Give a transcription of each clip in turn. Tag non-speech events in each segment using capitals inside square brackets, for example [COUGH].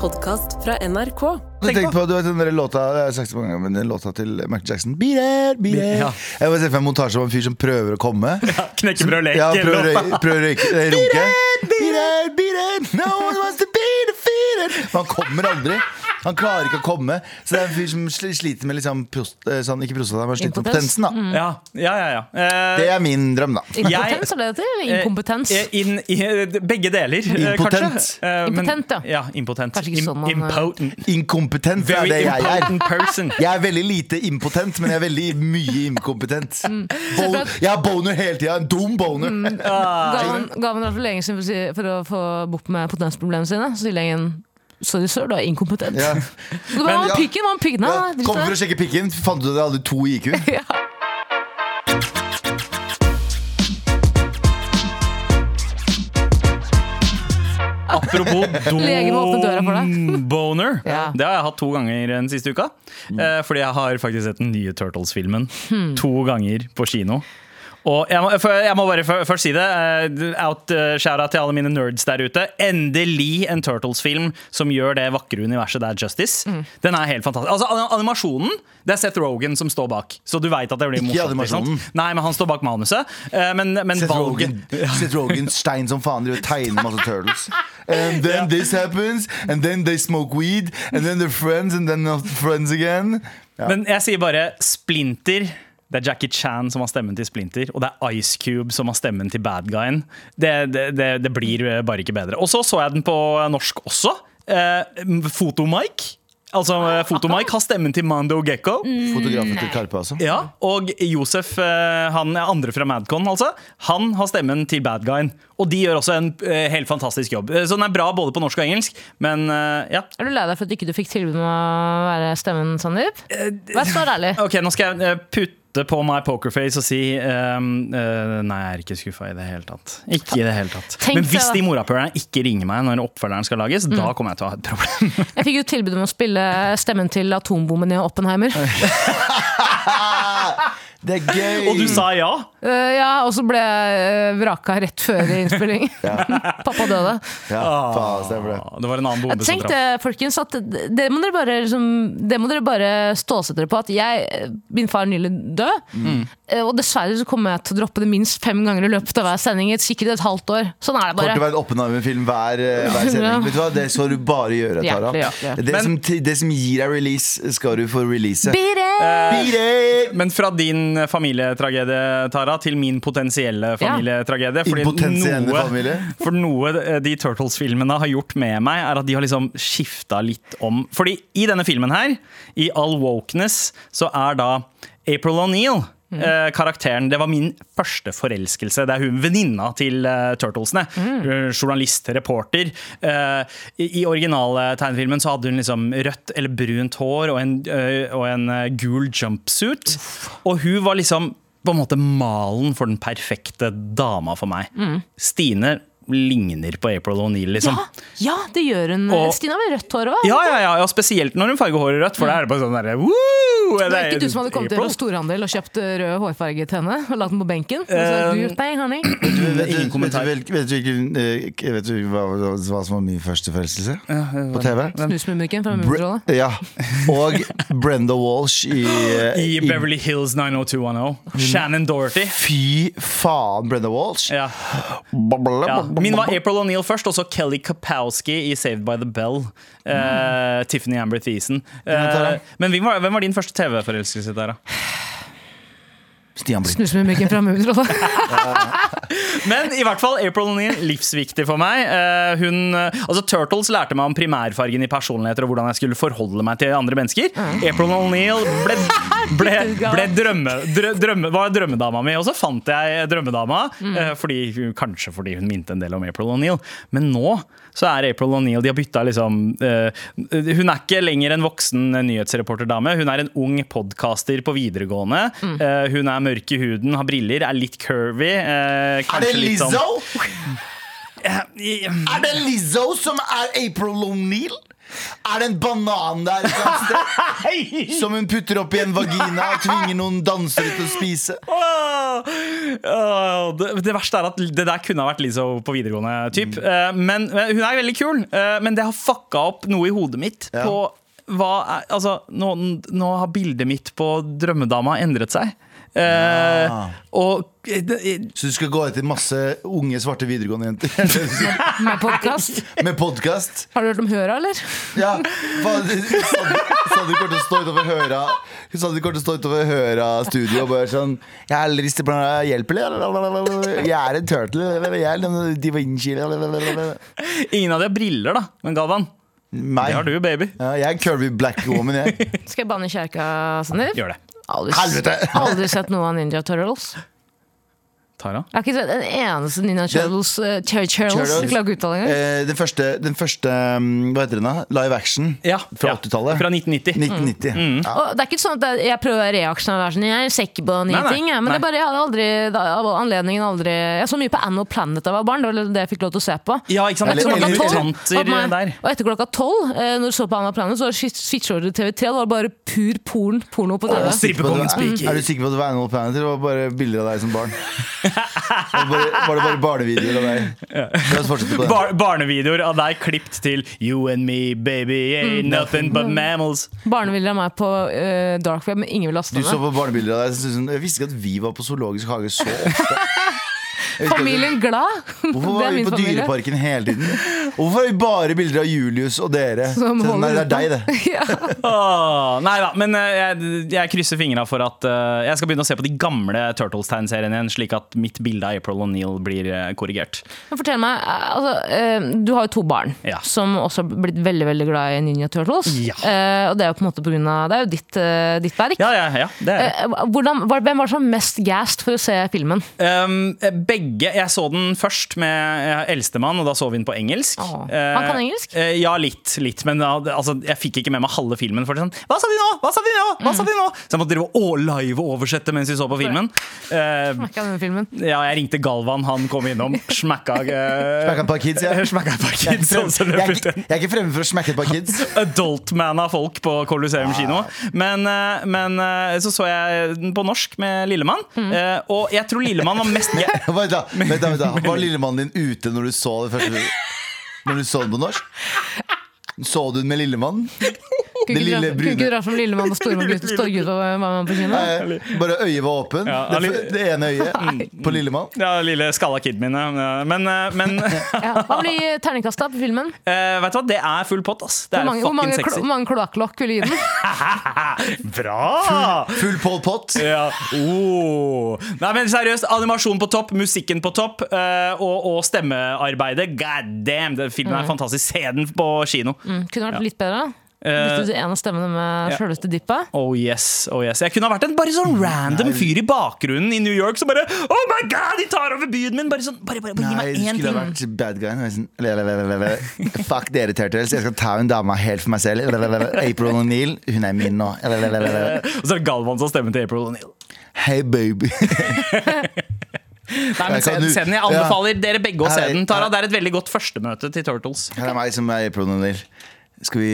podkast fra NRK. Men Tenk på, du vet den der låta Jeg har sagt det mange ganger, men den låta til Michael Jackson Beat it, beat it Ja. Jeg bare ser for meg en montasje av en fyr som prøver å komme [LAUGHS] Knekkebrød og lek. Ja, prøver å låta. røy- prøver å røyke eh, runke Beat it, beat it No one wants to be defeated Men han kommer aldri Han klarer ikke å komme Så det er en fyr som sli- sliter med liksom prost, eh, sånn, Ikke prostata, men sliter med Impotens. potensen da ja, ja, ja, ja. Eh, Det er min drøm da Impotens, er det det heter? eh, Inkompetens? eh, inn- i- begge deler, eh, Impotent. kanskje. Eh, men- Impotent, ja. ja. Impotent. Kanskje ikke sånn man- Impotent. Inkompetent er Very det jeg er impotent person. Jeg er veldig lite impotent, men jeg er veldig mye inkompetent. Bo jeg har boner hele tida. En dum boner. Ga man, ga man for lenge siden for, å si- for å få bukt med potensproblemene sine, så sier legen Sorry, sir, du er inkompetent. Ja. Du bare, ja. «Hva med pikken, hva med pikken? Nei, Ja, nei, drit Ah, Kom i for å det. sjekke pikken. Fant du at jeg hadde to i IQ? Ja. Apropos [LAUGHS] Legen må åpne døra for deg. domboner. [LAUGHS] Ja. Det har jeg hatt to ganger den siste uka. Mm. Eh, Fordi jeg har faktisk sett den nye Turtles-filmen Hmm. to ganger på kino. Og jeg må, for- jeg må bare fø- først si det. eh, Out, eh, Shout-out til alle mine nerds der ute. Endelig en Turtles-film som gjør det vakre universet der justice. Mm. Den er helt fantastisk. Altså an- Animasjonen det er Seth Rogan som står bak, så du veit at det blir Ikke morsomt. ikke sant? animasjonen. Nei, men han står bak manuset. Eh, Men, men Seth Rogen, valget [LAUGHS] Seth Rogen stein som faen. Driver og tegner masse turtles. And then this happens, and then they smoke weed, and then they're friends, and then not friends again. Ja. Men jeg sier bare Splinter. Det er Jackie Chan som har stemmen til Splinter, og det er Ice Cube som har stemmen til bad guyen. Det, det, det, det blir eh, bare ikke bedre. Og så så jeg den på norsk også. Eh, Fotomike. Altså, eh, Fotomike har stemmen til Mando Gekko. Mm. Fotografen til Karpe, altså. Ja, og Josef, eh, han er andre fra Madcon, altså, han har stemmen til bad guyen. Og de gjør også en eh, helt fantastisk jobb. Eh, Så den er bra både på norsk og engelsk, men eh, ja. Er du lei deg for at ikke du fikk tilbud om å være stemmen, Sandeep? Eh, Vær svar ærlig. Ok, nå skal jeg eh, putte på meg pokerface og si ehm, eh, Nei, jeg er ikke skuffa i det hele tatt. Ikke i det hele tatt. Tenk Men hvis deg- Mm. de morapulerne ikke ringer meg når oppfølgeren skal lages, da kommer jeg til å ha et problem. Jeg fikk jo tilbud om å spille stemmen til atombomben i Oppenheimer. Det er gøy! Og du sa ja! Eh, ja, og så ble jeg eh, vraka rett før innspilling. [LAUGHS] Pappa døde. ja, faen, stemmer det. Det var en annen bombe som Tenk traff. det, folkens. At det, det må dere bare, liksom, det må dere bare stålsette dere på. At jeg, min far er nylig død, Mm. Eh, og dessverre så kommer jeg til å droppe det minst fem ganger i løpet av hver sending. i et- Sikkert et halvt år. Sånn er det Kort og bare. være en oppenheimer-film hver, eh, hver Ja. sending. Vet du hva? Det skal du bare gjøre, Tara. Hjertelig, hjertelig. Det, Men- som, ti- det som gir deg release, skal du få release. Beat Eh, it! Beat it! Men fra din familietragedie, Tara, til min potensielle familietragedie. Impotensielle familie. For noe de Turtles-filmene har gjort med meg, er at de har liksom skifta litt om. Fordi i denne filmen her, i All Wokeness, så er da April O'Neill eh, karakteren, Det var min første forelskelse. Det er hun venninna til eh, Turtlesene. Eh, journalist, reporter. Eh, I i originale tegnefilmen så hadde hun liksom rødt eller brunt hår og en, eh, og en eh, gul jumpsuit. Og hun var liksom på en måte malen for den perfekte dama for meg. Stine ligner på April O'Neill, liksom. Ja, ja, det gjør hun. eh, Og- Stina med rødt hår òg. Ja, ja, ja, ja, spesielt når hun farger håret rødt, for da er det bare sånn derre «Woo!» Det er ikke du som hadde kommet til April? Rød Storhandel og kjøpt eh, rød hårfarge til henne og lagt den på benken? Og så, Eh, du, nei, honey. Du, vet, Ingen du, vet, du, kommentar. vel- vet du, hvilken, eh, vet du hva, hva som var min første forelskelse eh, på TV? Snusmumrikken fra Bre- Mummitrollet. ja. Og Brenda Walsh i, eh, [LAUGHS] I Beverly Hills 90210. Shannon Dorothy. Fy faen, Brenda Walsh! Ja. Ja. Min var April O'Neill først, og så Kelly Kapowski i Saved by the Bell. Eh, Tiffany Amber Thiesen. Eh, men hvem var, hvem var din første TV-forelskelse? der, da? Stian Blipp. Snusmumrikken fra Mummitrollet. Men i hvert fall April O'Neill livsviktig for meg. Eh, hun, eh, altså Turtles lærte meg om primærfargen i personligheter og hvordan jeg skulle forholde meg til andre mennesker. April O'Neill ble, ble, ble drømme, drø, drømme, var drømmedama mi, og så fant jeg drømmedama. eh, fordi, kanskje fordi hun minte en del om April O'Neill. Men nå så er April O'Neill De har bytta liksom eh, Hun er ikke lenger en voksen nyhetsreporterdame. Hun er en ung podcaster på videregående. Eh, hun er mørk i huden, har briller, er litt curvy. eh, Er det kanskje litt sånn- Lizzo? Eh, i- Er det Lizzo som er April O'Neill? Er det en banan der et eller annet sted som hun putter opp i en vagina og tvinger noen dansere til å spise? Åh, åh, det, det verste er at det der kunne ha vært Lizzo på videregående. Typ. Mm. Eh, men, men Hun er veldig kul, eh, men det har fucka opp noe i hodet mitt. Ja. På hva er, altså, nå, nå har bildet mitt på drømmedama endret seg. Eh, Ah. Og eh, det, Så du skal gå etter masse unge svarte videregående jenter [LAUGHS] [LAUGHS] Med podcast. med podkast? Har du hørt om Høra, eller? Ja. Hva- Sa du kommer til å stå utover høra Hun sa du kommer til å stå utover høra studio og bare sånn Jeg har lyst til å hjelpe, eller? Jeg er en turtle. eller Jeg er en Da Vinci. eller- ingen av de har briller, da. Men Galvan, Meg. det har du, baby. Ja, jeg er en curvy black woman, jeg. Skal jeg banne i kjerka, Sandeep? Gjør det. Aldri, Helvete! [LAUGHS] aldri sett noe av Ninja Turtles. Tara? Jeg har ikke sett en eneste Ninja Turtles. eh, Tur- Turtles. Turtles. Jeg klarer ikke å uttale engang. Eh, Den første, den første um, Hva heter den da? Live action Ja, fra ja. 80-tallet. Fra Mm. 1990. 1990. Ja. Og det er ikke sånn at jeg- jeg prøver å være reaksjonær og være sånn, jeg er sikker på nye Nei, nei, ting. Jeg, men det er nei. bare, jeg hadde aldri, da, av anledningen aldri Jeg så mye på Anno Planet da jeg var barn. Det var det jeg fikk lov til å se på. Ja, ikke sant? Eller- eh, Etter eller- klokka eller- tanter Og meg- der. Og etter klokka tolv, eh, når du så på Anno Planet, så switcha du til TV3. Det var bare pur porn, porno på TV. Å, si- Strippekongen speaker. Er du sikker på at det var Animal Planet eller var det bare bilder av deg som [LAUGHS] barn? Var det bare, var det bare barnevideoer av deg? La oss fortsette på det. Bar barnevideoer av deg klippet til You and me, baby, Mm. ain't nothing but mammals. Barnebilder av meg på eh, dark web, men ingen vil laste Du ned. så på barnebilder av deg så syntes hun, Jeg visste ikke at vi var på zoologisk hage så ofte. Jeg husker at- Familien Glad. Hvorfor var vi på Dyreparken hele tiden? Hvorfor har vi bare bilder av Julius og dere? Som Så, nei, det holder er deg, det. [LAUGHS] ja. Åh, nei da, men eh, jeg, jeg krysser fingra for at eh, jeg skal begynne å se på de gamle Turtles-tegneseriene igjen, slik at mitt bilde av April O'Neill blir eh, korrigert. Men fortell meg, eh, altså, eh, du har jo to barn Ja. som også har blitt veldig veldig glad i Ninja Turtles. Ja. Eh, og det er jo på en måte på grunn av, det er jo ditt, eh, ditt verk. Ja, ja, ja, det er det. Eh, hvordan, var, hvem var som mest gassed for å se filmen? Um, eh, begge Jeg så den først med eh, eldstemann, og da så vi den på engelsk. Åh, Eh, han kan engelsk? eh, ja, litt. litt men da, altså, jeg fikk ikke med meg halve filmen. For det er sånn, Hva sa de nå?! Hva sa de nå?! Hva sa de nå? Mm. Så jeg måtte drive og å- live og oversette mens vi så på filmen. Eh, Merket jeg denne filmen? ja, jeg ringte Galvan, han kom innom. Smakka Smack uh, up our kids, ja. Jeg Smakka på er ikke kids. og så fremme- løp jeg er ut igjen. ikke- jeg er ikke fremme for å smacke et par kids. Adultman av folk på Colosseum kino. Men, eh, men eh, så så jeg den på norsk med Lillemann, Mm. eh, og jeg tror Lillemann var mest jeg, Vent da, vent da, vent da. Var lillemannen din ute når du så det første Når du så den på norsk? Så du den med lillemannen? Kunne lille ikke dra- kunne brune. ikke dra fram Lillemann og [LAUGHS] Stormann gutt- Storgutt og var med på kino? Nei, Eh, Bare øyet var åpen Ja, Mm. det, litt- det ene øyet på lillemann ja, lille skalla kiden min. ja. Men, eh, [LAUGHS] men eh, Ja. Hva blir terningkastet på filmen? vet du hva, det er full pott, ass. Det Hvor er mange, hvor mange, fucking klo- sexy. hvor mange kloakklokk vil du gi den? Bra! Full Pol Pot Ja. Oh. Nei, men seriøst, animasjon på topp, musikken på topp eh, og, og stemmearbeidet. God damn, den filmen er fantastisk. Se den på kino. Mm, Kunne Ja. vært litt bedre. Eh, Bytte ut en av stemmene med ja. sjølveste dippa. Oh yes, oh yes Jeg kunne ha vært en bare sånn random fyr i bakgrunnen i New York som bare Oh my god, de tar over byen min! Bare sånn, bare, bare, bare Nei, gi du meg én skulle ha ting. vært bad guy Jeg er sånn, le, le, le, le, le. Fuck dere turtles Jeg skal ta en dame helt for meg selv Le, le, le, le. April O'Neil, hun er min nå Le, le, le, le, le. [LAUGHS] Og så er det Galvan som stemmer til April O'Neill. Hey baby [LAUGHS] Nei, men Jeg se kan den, jo- se den. Jeg Ja. anbefaler dere begge å se Nei, den. Tara, nei. Det er et veldig godt førstemøte til Turtles. Her er meg som er April O'Neil skal vi,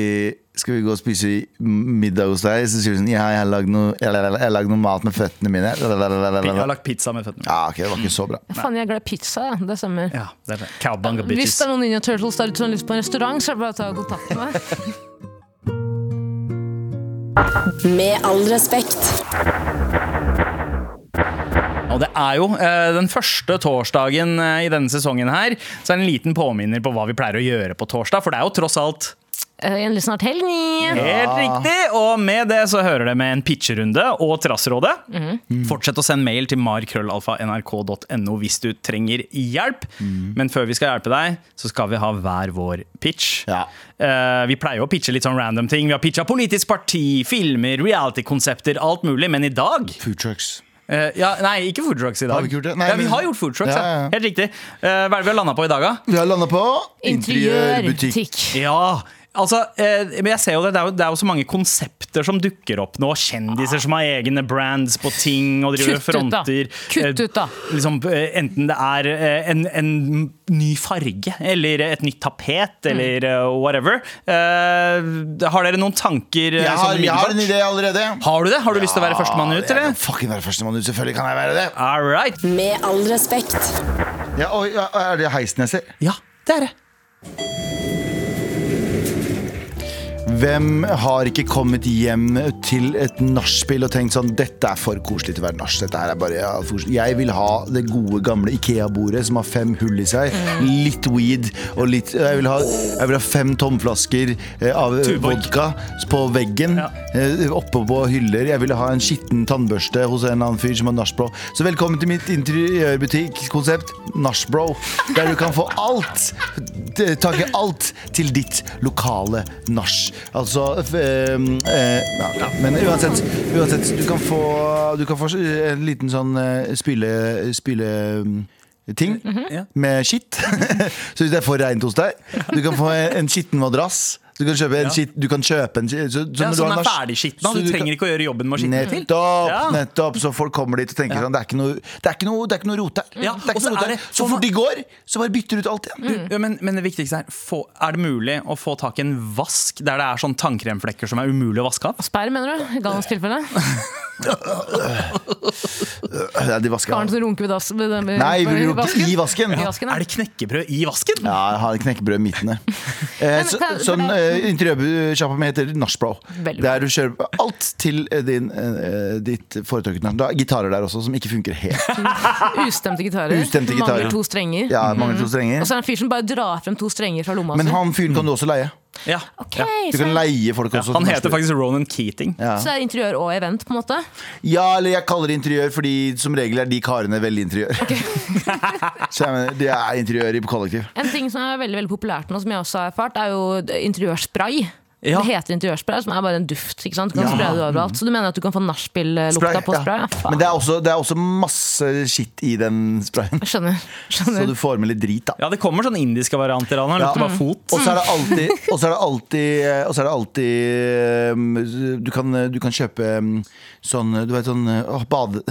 skal vi gå og spise middag hos deg Så sier du sånn Ja, jeg har lagd noe, jeg har lagd noe mat med føttene mine Le, le, le, le, le, Jeg le. har lagt pizza med føttene. Ja, ok, det var ikke så bra Faen, jeg er glad i pizza, ja. det stemmer. Ja, det er det. Cowbunga Hvis bitches. det er noen Ninja Turtles der ute som har lyst på en restaurant, så er det bare å ta kontakt med meg. Med all respekt. Og det er jo eh, den første torsdagen eh, i denne sesongen her, så er det en liten påminner på hva vi pleier å gjøre på torsdag, for det er jo tross alt Eh, Endelig snart helg. Helt riktig, og med det så hører det med en pitcherunde og trassrådet. Mhm. Fortsett å sende mail til markrøllalfa.nrk.no hvis du trenger hjelp. Mhm. Men før vi skal hjelpe deg, så skal vi ha hver vår pitch. Ja. Eh, vi pleier jo å pitche litt sånn random ting. Vi har pitcha politisk parti, filmer, reality-konsepter, alt mulig. Men i dag Food trucks eh, ja, Nei, ikke food trucks i dag. Har vi ikke gjort det? Nei, ja, vi men- har gjort food trucks, ja. Ja, ja, ja. Helt riktig. Eh, hva er det vi har landa på i dag, da? Vi har landet på Interiørbutikk. Ja, Altså, eh, men jeg ser jo det, det er jo, det er jo så mange konsepter som dukker opp nå. Kjendiser som har egne brands på ting og driver og Kutt ut, da. fronter. Kutt ut, da. Eh, liksom, eh, enten det er eh, en, en ny farge eller et nytt tapet Mm. eller eh, whatever. Eh, har dere noen tanker? eh, Jeg sånn har, jeg har en umiddelbart? idé allerede. Ah, Har du det? Har du lyst til å være førstemann ut, Jeg eller? kan fucking være førstemann ut, selvfølgelig kan jeg være det. All right. Med all respekt. Ja, oi, ja, er det heisen jeg ser? Ja, det er det. Hvem har ikke kommet hjem til et nachspiel og tenkt sånn Dette er for koselig til å være nach. Dette her er bare ja, for koselig». Jeg vil ha det gode, gamle Ikea-bordet som har fem hull i seg. Mm. Litt weed og litt Jeg vil ha, jeg vil ha fem tomflasker eh, av eh, Tuborg. vodka på veggen. Ja. eh, Oppe på hyller. Jeg vil ha en skitten tannbørste hos en eller annen fyr som har nachbro. Så velkommen til mitt interiørbutikkonsept Nachbro. Der du kan få alt. t- Tak i alt til ditt lokale nach. Altså f- eh, eh, ja, Men uansett, uansett du, kan få, du kan få en liten sånn eh, spyle... spyle mm, Ting Ja. med skitt. [LAUGHS] så hvis det er for reint hos deg, du kan få en skitten madrass. Du kan kjøpe en skitt Du kan kjøpe en skitt så, Ja, når du så har den er nach- ferdigskitna. så Du kan- trenger ikke å gjøre jobben med å skitne til. Nettopp! Ja. nettopp Så folk kommer dit og tenker sånn Det er ikke noe, det er ikke noe, det er ikke noe rot her. Ja, Det er og ikke så noe rot er her. det- sånn Mm. Så fort de går, så bare bytter du ut alt igjen. Ja, men, men det viktigste er få, Er det mulig å få tak i en vask der det er sånn tannkremflekker som er umulig å vaske av? Sperr, mener du? I Galens tilfelle? Ja, de vasker Karen av. som runker ved dass- ved- ved- Nei, vi ved runker i vasken. I vasken, ja. Er det knekkebrød i vasken? Ja, jeg har knekkebrød i [LAUGHS] midten der. Eh, Men så, kan- sånn eh, interiørsjappa mi heter Nachbro. Veldig bra. Der du kjøper alt til eh, din, eh, ditt foretrukne nach. Det er Gitarer der også som ikke funker helt. Ustemte gitarer. Ustemte gitarer. Mangler to strenger. Ja, mangler to Mm. Og strenger. så er det en fyr som bare drar frem to strenger fra lomma Men si. han fyren kan du også leie. Ja. Ok, ja. Du kan så, leie folk også. til Han nachspiel. heter faktisk Ronan Keating. Sånn ja. så det er interiør og event, på en måte? Ja, eller jeg kaller det interiør, fordi som regel er de karene veldig interiør. [LAUGHS] så jeg mener, det er interiør i kollektiv. En ting som er veldig veldig populært nå, som jeg også har erfart, er jo interiørspray. Ja. Det heter interiørspray, som er bare en duft. ikke sant? Du kan spraye det overalt. Så du mener at du kan få Spray, nachspiel-lukta på ja. spray? Ja, faen. Men det er, også, det er også masse skitt i den sprayen, Skjønner. så skjønner. du får med litt drit, da. Ja, det kommer sånne indiske varianter av den. Han Ja. lukter bare fot. Og så er det alltid, og så er det alltid, eh, og så er det alltid um, du, kan, du kan kjøpe um, sånn Du vet sånn åh, bade...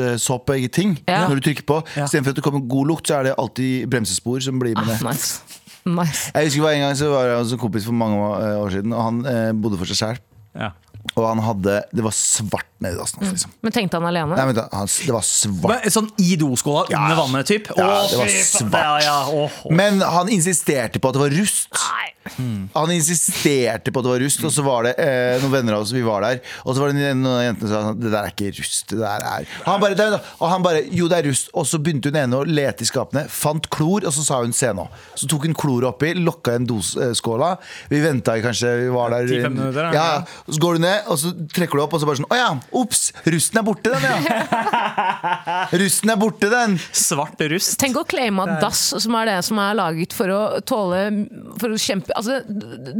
Dassåpe-ting Ja. når du trykker på. Ja. Istedenfor at det kommer god lukt, så er det alltid bremsespor som blir med det. Ah, nice. nice. Jeg husker bare En gang så var jeg hos en kompis for mange eh, år siden, og han eh, bodde for seg selv Ja. Og han hadde Det var svart nedi dassen hans, liksom. Men tenkte han Nei, alene? vent, da. Han, det var svart. Men Sånn i doskåla Ja. under vannet, typ. Ja, Å, det var fy faen. svart. Ja, ja. Åh, åh. Men han insisterte på at det var rust. Han insisterte på at det var rust, og så var det eh, noen venner av oss, vi var der, og så var det en- noen av jentene som sa sånn, det der er ikke rust, det der er han bare, «Det er det». Og han bare, jo det er rust, og så begynte hun ene å lete i skapene, fant klor, og så sa hun se nå. Så tok hun klor oppi, lokka en doskåla, vi ventet i kanskje, vi var der. 10-15 minutter, da. Ja, ja. så går du ned, og så trekker du opp, og så bare sånn, åja, ups, rusten er borte den, ja. [LAUGHS] rusten er borte den. Svart rust. Tenk å claime at dass, som er det som er laget for å tåle For å kjempe Altså,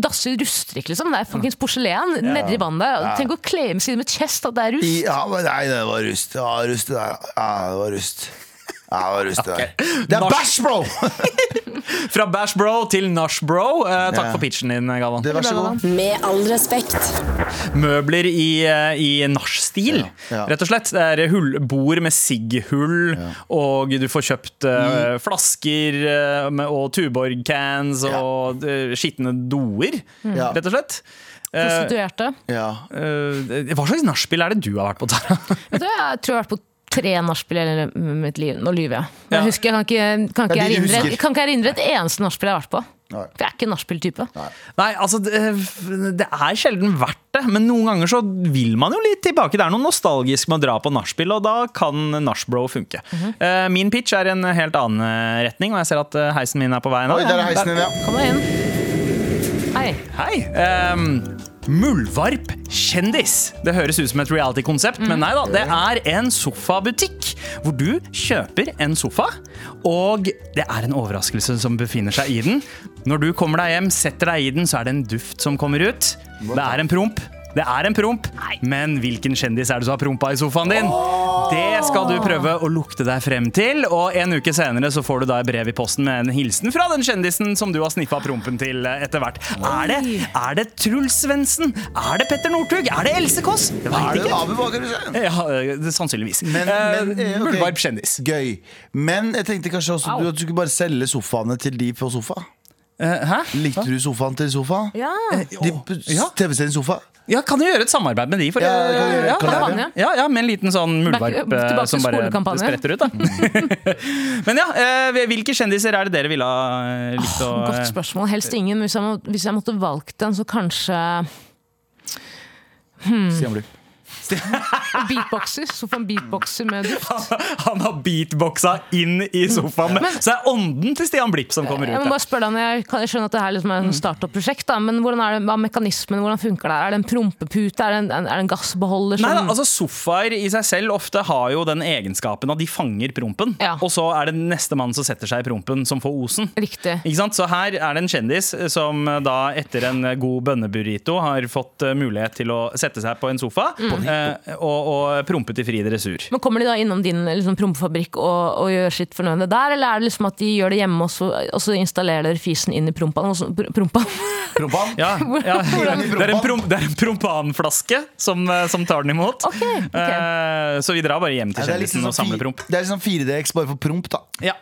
dasser ruster ikke, liksom. Det er fuckings porselen nedi vannet der. Tenk å claime sine med chest at det er rust. I, ja, men nei, det var rust. Ja, rust det der. Ja, det var rust. Ja, det var rust det der. Det er Norsk- bæsj, [LAUGHS] bro! Fra Bash Bro til Nash Bro. Eh, takk Ja. for pitchen din, Galvan. Det, vær så god. Med all respekt. møbler i, eh, i nachstil, Ja, ja. rett og slett. Det er hull, bord med sigghull, og du får kjøpt eh, flasker eh, med, og Tuborg-cans Mm. Ja. og uh, skitne doer, Ja. rett og slett. Eh, Prostituerte. Ja. eh, hva slags nachspiel er det du har vært på, Tara? [LAUGHS] Vet du, jeg tror jeg har vært på tre nachspiel i hele mitt liv. Nå lyver jeg. Men Ja. jeg husker, jeg kan ikke, kan ikke, Ja, de du erindre, husker. kan ikke erindre et eneste nachspiel jeg har vært på. Nei. For jeg er ikke en nachspiel-type. Nei, altså, det, det er sjelden verdt det, men noen ganger så vil man jo litt tilbake. Det er noe nostalgisk med å dra på nachspiel, og da kan nachsbro funke. Eh, min pitch er en helt annen eh, retning, og jeg ser at eh, heisen min er på vei nå. Oi, der er Ja, heisen din, ja. Kom deg inn. Hei. Hei. ehm, Muldvarp kjendis. Det høres ut som et reality-konsept, men nei da. Det er en sofabutikk hvor du kjøper en sofa, og det er en overraskelse som befinner seg i den. Når du kommer deg hjem, setter deg i den, så er det en duft som kommer ut. Det er en promp. Det er en promp, men hvilken kjendis er det som har prompa i sofaen din? Det skal du prøve å lukte deg frem til. Og en uke senere så får du da et brev i posten med en hilsen fra den kjendisen som du har sniffa prompen til eh, etter hvert. Er det, er det Truls Svendsen? Er det Petter Northug? Er det Else Kåss? Det Er veit det ikke. Abu Bakar Hussein? Ja, eh, det, sannsynligvis. Men- men, eh, ok. Muldvarp kjendis. Gøy. Men jeg tenkte kanskje også du, at du skulle bare selge sofaene til de på sofa. Eh, hæ? Likte du sofaen til sofa? Ja. De på Ja. TV-serien Sofa? Ja, Kan du gjøre et samarbeid med de? For, Ja, det kan vi gjøre. Kan vi gjøre. ja, ja, ja, Med en liten sånn muldvarp Back- tilbake eh, til som bare skolekampanje. spretter [LAUGHS] ut. da Men ja, eh, Hvilke kjendiser er det dere ville ha eh, likt å Godt spørsmål. Helst ingen. Hvis jeg, må, hvis jeg måtte valgt en, så kanskje hmm. Stian Blipp. [LAUGHS] beatboxer. Så får en beatboxer med duft. eh, [LAUGHS] Han har beatboxa inn i sofaen, med, så er ånden til Stian Blipp som kommer Jeg ut. må der. bare spørre deg, når jeg, kan jeg skjønner at det her liksom Mm. er et startup-prosjekt, da, men hvordan er det, hva er mekanismen? Hvordan funker det? her? Er det en prompepute? Er det en, en- er det en gassbeholder? Nei, Som, da, altså Sofaer i seg selv ofte har jo den egenskapen at de fanger prompen. Ja. Og så er det neste mann som setter seg i prompen, som får osen. Riktig. Ikke sant? Så her er det en kjendis som eh, da etter en god bønneburrito har fått eh, mulighet til å sette seg på en sofa Mm. eh, og, og prompe til fri dressur. Men Kommer de da innom din liksom, prompefabrikk og, og gjør sitt fornøyde der, eller er det liksom at de gjør det hjemme, og så, og så installerer dere fisen inn i prompa? Og så, pr prompa? Prompan? [LAUGHS] Ja, ja. Hvordan- Det, er en prom, det er en prompanflaske som, eh, som tar den imot. Ok, ok. Eh, Så vi drar bare hjem til Ja, det er litt kjendisen sånn og samler fi- promp. Det er liksom 4DX bare for promp, da. Ja,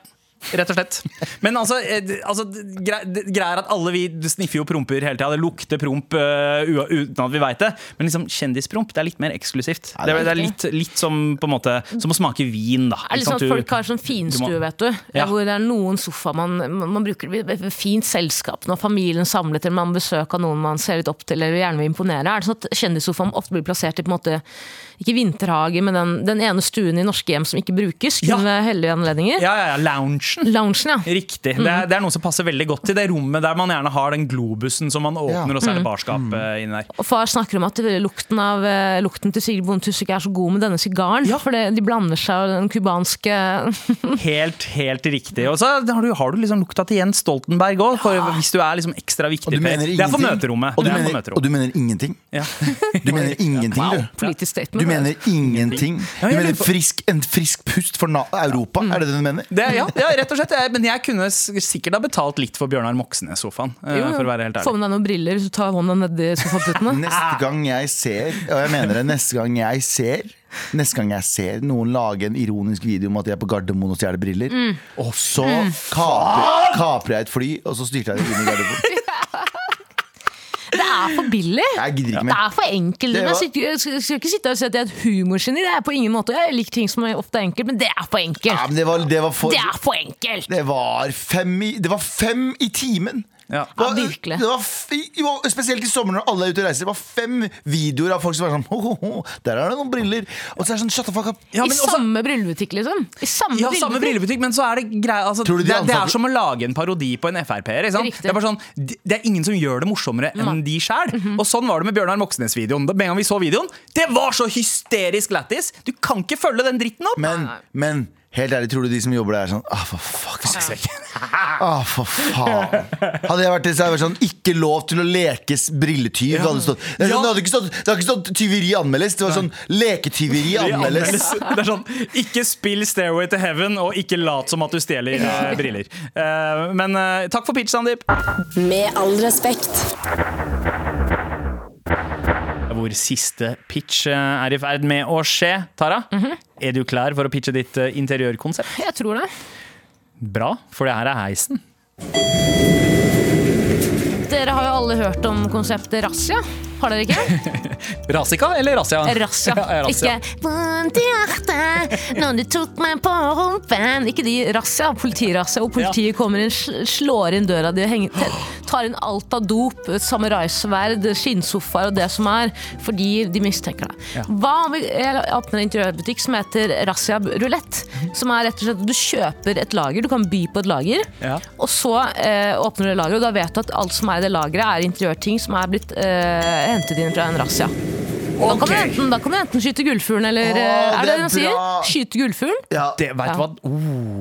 rett og slett. Men altså, eh, d- altså d- grei- d- greia er at alle vi sniffer jo promper hele tida. Det lukter promp eh, ua- uten at vi veit det. Men liksom kjendispromp det er litt mer eksklusivt. Ja, det det, er, er det er litt, litt som på en måte Som å smake vin, da. Er det Ikke liksom sant, at du- Folk har sånn finstue, du må- vet du. Ja. Hvor det er noen sofa man, man bruker det ved fint selskap når familien samlet, eller man besøker noen man ser litt opp til eller gjerne vil imponere. Er det sånn at kjendissofaen ofte blir plassert i på en måte, ikke vinterhage, men den, den ene stuen i norske hjem som ikke brukes, kun Ja. ved hellige anledninger? ja, ja, ja, loungen. Loungen, ja. Riktig. Det, er, det er noe som passer veldig godt til det rommet der man gjerne har den globusen som man åpner, Ja. Mm. og så Mm. er det barskap eh, inni der. Og far snakker om at lukten, av, eh, lukten til Sigrid Bonde Tusvik er så god med denne sigaren. For det, de blander seg og den cubanske Helt, helt riktig. Og så har du, har du liksom lukta til Jens Stoltenberg òg, hvis du er liksom ekstra viktig. Og du per. mener det er for ingenting? møterommet. Og du Det er for mener, møterommet. og du mener ingenting? Ja. Du mener ingenting, du. [LAUGHS] politisk statement. Du mener ingenting. Ja, Du jeg mener lurer på- Mm. frisk, en frisk pust for na Europa, er det det du mener? Det, ja, ja, rett og slett. Jeg, men jeg kunne s- sikkert ha betalt litt for Bjørnar Moxnes-sofaen. eh, Jo, jo. For å være helt Få ærlig. med deg noen briller, så tar hånda nedi Ah. [LAUGHS] sofaputene. Neste gang jeg ser, og jeg mener det, neste gang jeg ser Neste gang jeg ser noen lage en ironisk video om at jeg er på Gardermoen og stjeler briller, Mm. og så kaprer, kaprer jeg et fly, og så styrter jeg det inn i Gardermoen. Det er for billig! Jeg gidder ikke Det Ah, mer. er for enkelt. Det Men Jeg var- sitter- jeg skal skal ikke sitte og si at jeg er et humorgeni. Det er på ingen måte. Jeg liker ting som er ofte er enkelt, men det er for Ja, enkelt. men det var, det var for Det er for enkelt! Det var fem i, det var fem i timen. Ja. Det var, Ja, virkelig. Det var f- i- jo, spesielt i sommeren når alle er ute og reiser. Det var fem videoer av folk som var sånn [LAUGHS] ho, ho, ho, Der er det noen briller. Og så er det sånn shut the fuck up. Ja, I men også, samme brillebutikk, liksom. I samme ja, samme brillebutikk. brillebutikk, men så er det grei, altså, Tror du de det, er- det er ansatte- som å lage en parodi på en Frp-er. ikke sant? Riktig. Det er bare sånn, de- det er ingen som gjør det morsommere enn de sjæl. Mhm. Og sånn var det med Bjørnar Moxnes-videoen. Da- Med en gang vi så videoen, det var så hysterisk lættis! Du kan ikke følge den dritten opp! Men, men helt ærlig, tror du de som jobber der, er sånn ah, for fuck. Fuck sake. Ah, for faen. Hadde jeg vært det, så hadde jeg vært sånn Ikke lov til å lekes brilletyv. Det, hadde stått, det, er Ja. sånn, det hadde ikke stått, det hadde ikke stått tyveri anmeldes. Det var sånn leketyveri Det anmeldes. anmeldes. Det er sånn, ikke spill 'Stairway to Heaven', og ikke lat som at du stjeler eh, briller. Eh, men eh, takk for pitch, Sandeep. Med all respekt. hvor siste pitch eh, er i ferd med å skje. Tara, Mhm. er du klar for å pitche ditt eh, interiørkonsept? Jeg tror det. Bra, for det her er heisen. Dere har jo alle hørt om konseptet razzia. Har dere ikke? Rasika eller Rasia? Eh, Razzia. [LAUGHS] Ja, razzia. Ikke vondt i hjertet når du tok meg på rumpen. Ikke de razzia, politirazzia, og politiet kommer inn, sl- slår inn døra di, og henger, te- tar inn alt av dop, samuraisverd, skinnsofaer og det som er, fordi de mistenker deg. Ja. Hva om vi jeg åpner en interiørbutikk som heter Razzia Rulett? Mhm. Som er rett og slett at du kjøper et lager, du kan by på et lager. Ja. Og så eh, åpner du det lageret, og da vet du at alt som er i det lageret, er interiørting som er blitt eh, hentet inn fra en razzia. Da kan, du Ok. enten, da kan du enten skyte gullfuglen eller Å, eh, Er det det er det man sier? bra. Skyte gullfuglen? Ja, Det, vet du hva? Oh.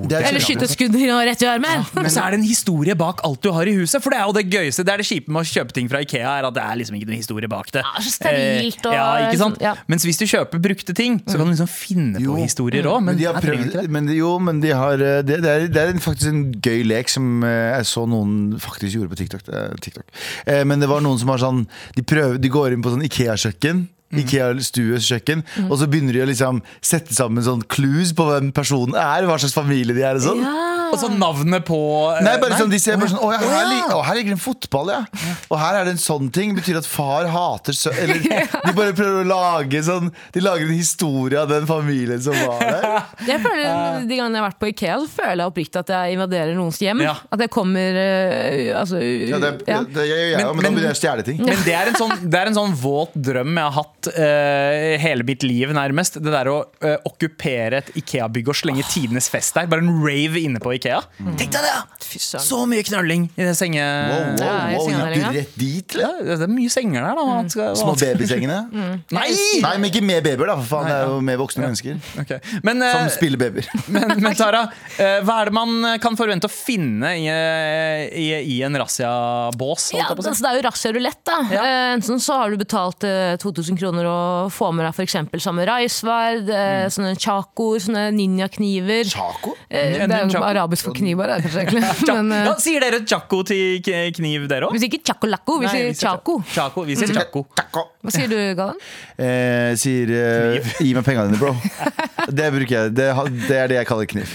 det er kjempebra. Eller skyte et skudd i- rett i armen? Men så er det en historie bak alt du har i huset. For det er jo det gøyeste. Det er det kjipe med å kjøpe ting fra Ikea, er at det er liksom ikke noen historie bak det. Ja, så sterilt og- Eh, ja, ikke sant? ja. Mens hvis du kjøper brukte ting, så kan du liksom finne Jo. Mm. på historier òg. Men, Men de har her trenger du prøvd, ikke det. men de, jo, men de har eh, Det, det er, det er en, faktisk en gøy lek som eh, jeg så noen faktisk gjorde på TikTok. eh, TikTok. Eh, men det var noen som har sånn De, prøver, de går inn på sånn Ikea-kjøkken. Mm. Ikea-stues kjøkken Og så begynner de å liksom sette sammen sånn clues på hvem personen er. Hva slags familie de er og sånn. Og så navnet på eh, Nei, bare sånn, de ser Å, bare ja. sånn Å, ja, her, lig- å, her ligger en fotball, ja. Og her er det en sånn ting. Betyr at far hater sø... [LAUGHS] Eller de bare prøver å lage sånn De lager en historie av den familien som var [LAUGHS] der. [LAUGHS] Jeg føler, De gangene jeg har vært på Ikea, så føler jeg oppriktig at jeg invaderer noens hjem. Ja. At jeg kommer eh, altså, Ja, det, ja. det gjør jeg, men, Men- men da men- begynner jeg å stjele ting. Men det er, en sånn, det er en sånn våt drøm jeg har hatt eh, hele mitt liv, nærmest. Det der å eh, okkupere et Ikea-bygg og slenge tidenes fest der. Bare en rave inne på Ikea. Mm. Tenk deg det! ja! Fy søren. Så mye knølling i det senge... Wow, wow, Ja, jeg wow, ser gikk annerledes. du rett dit? Ja, Eller? det det er mye senger der, da. Han skal- Små han skal- babysengene? Nei! Nei, men ikke med babyer, da, for faen. Det er jo med voksne mennesker. Ok. Men, eh, Som spiller babyer. men, men Tara, eh, hva er det man kan forvente å finne i, eh, i, i en razziabås? Ja, holdt jeg på å si? altså det er jo razzia rulett, da. Ja. Eh, Enten så har du betalt eh, 2000 kroner og får med deg f.eks. samme raisverd, eh, sånne chacoer, sånne ninjakniver. Taco? Eh, Det er jo Chaco. arabisk for kniv, bare. Kanskje, egentlig. Ja, Men, eh, ja, sier dere tjako til k- kniv, dere òg? vi sier ikke chacolacco, vi sier chaco. Chaco. Vi sier chaco. Taco. Hva sier du, Galvan? Eh, sier eh, Gi meg pengene dine, bro. Det bruker jeg. Det, ha- det er det jeg kaller kniv.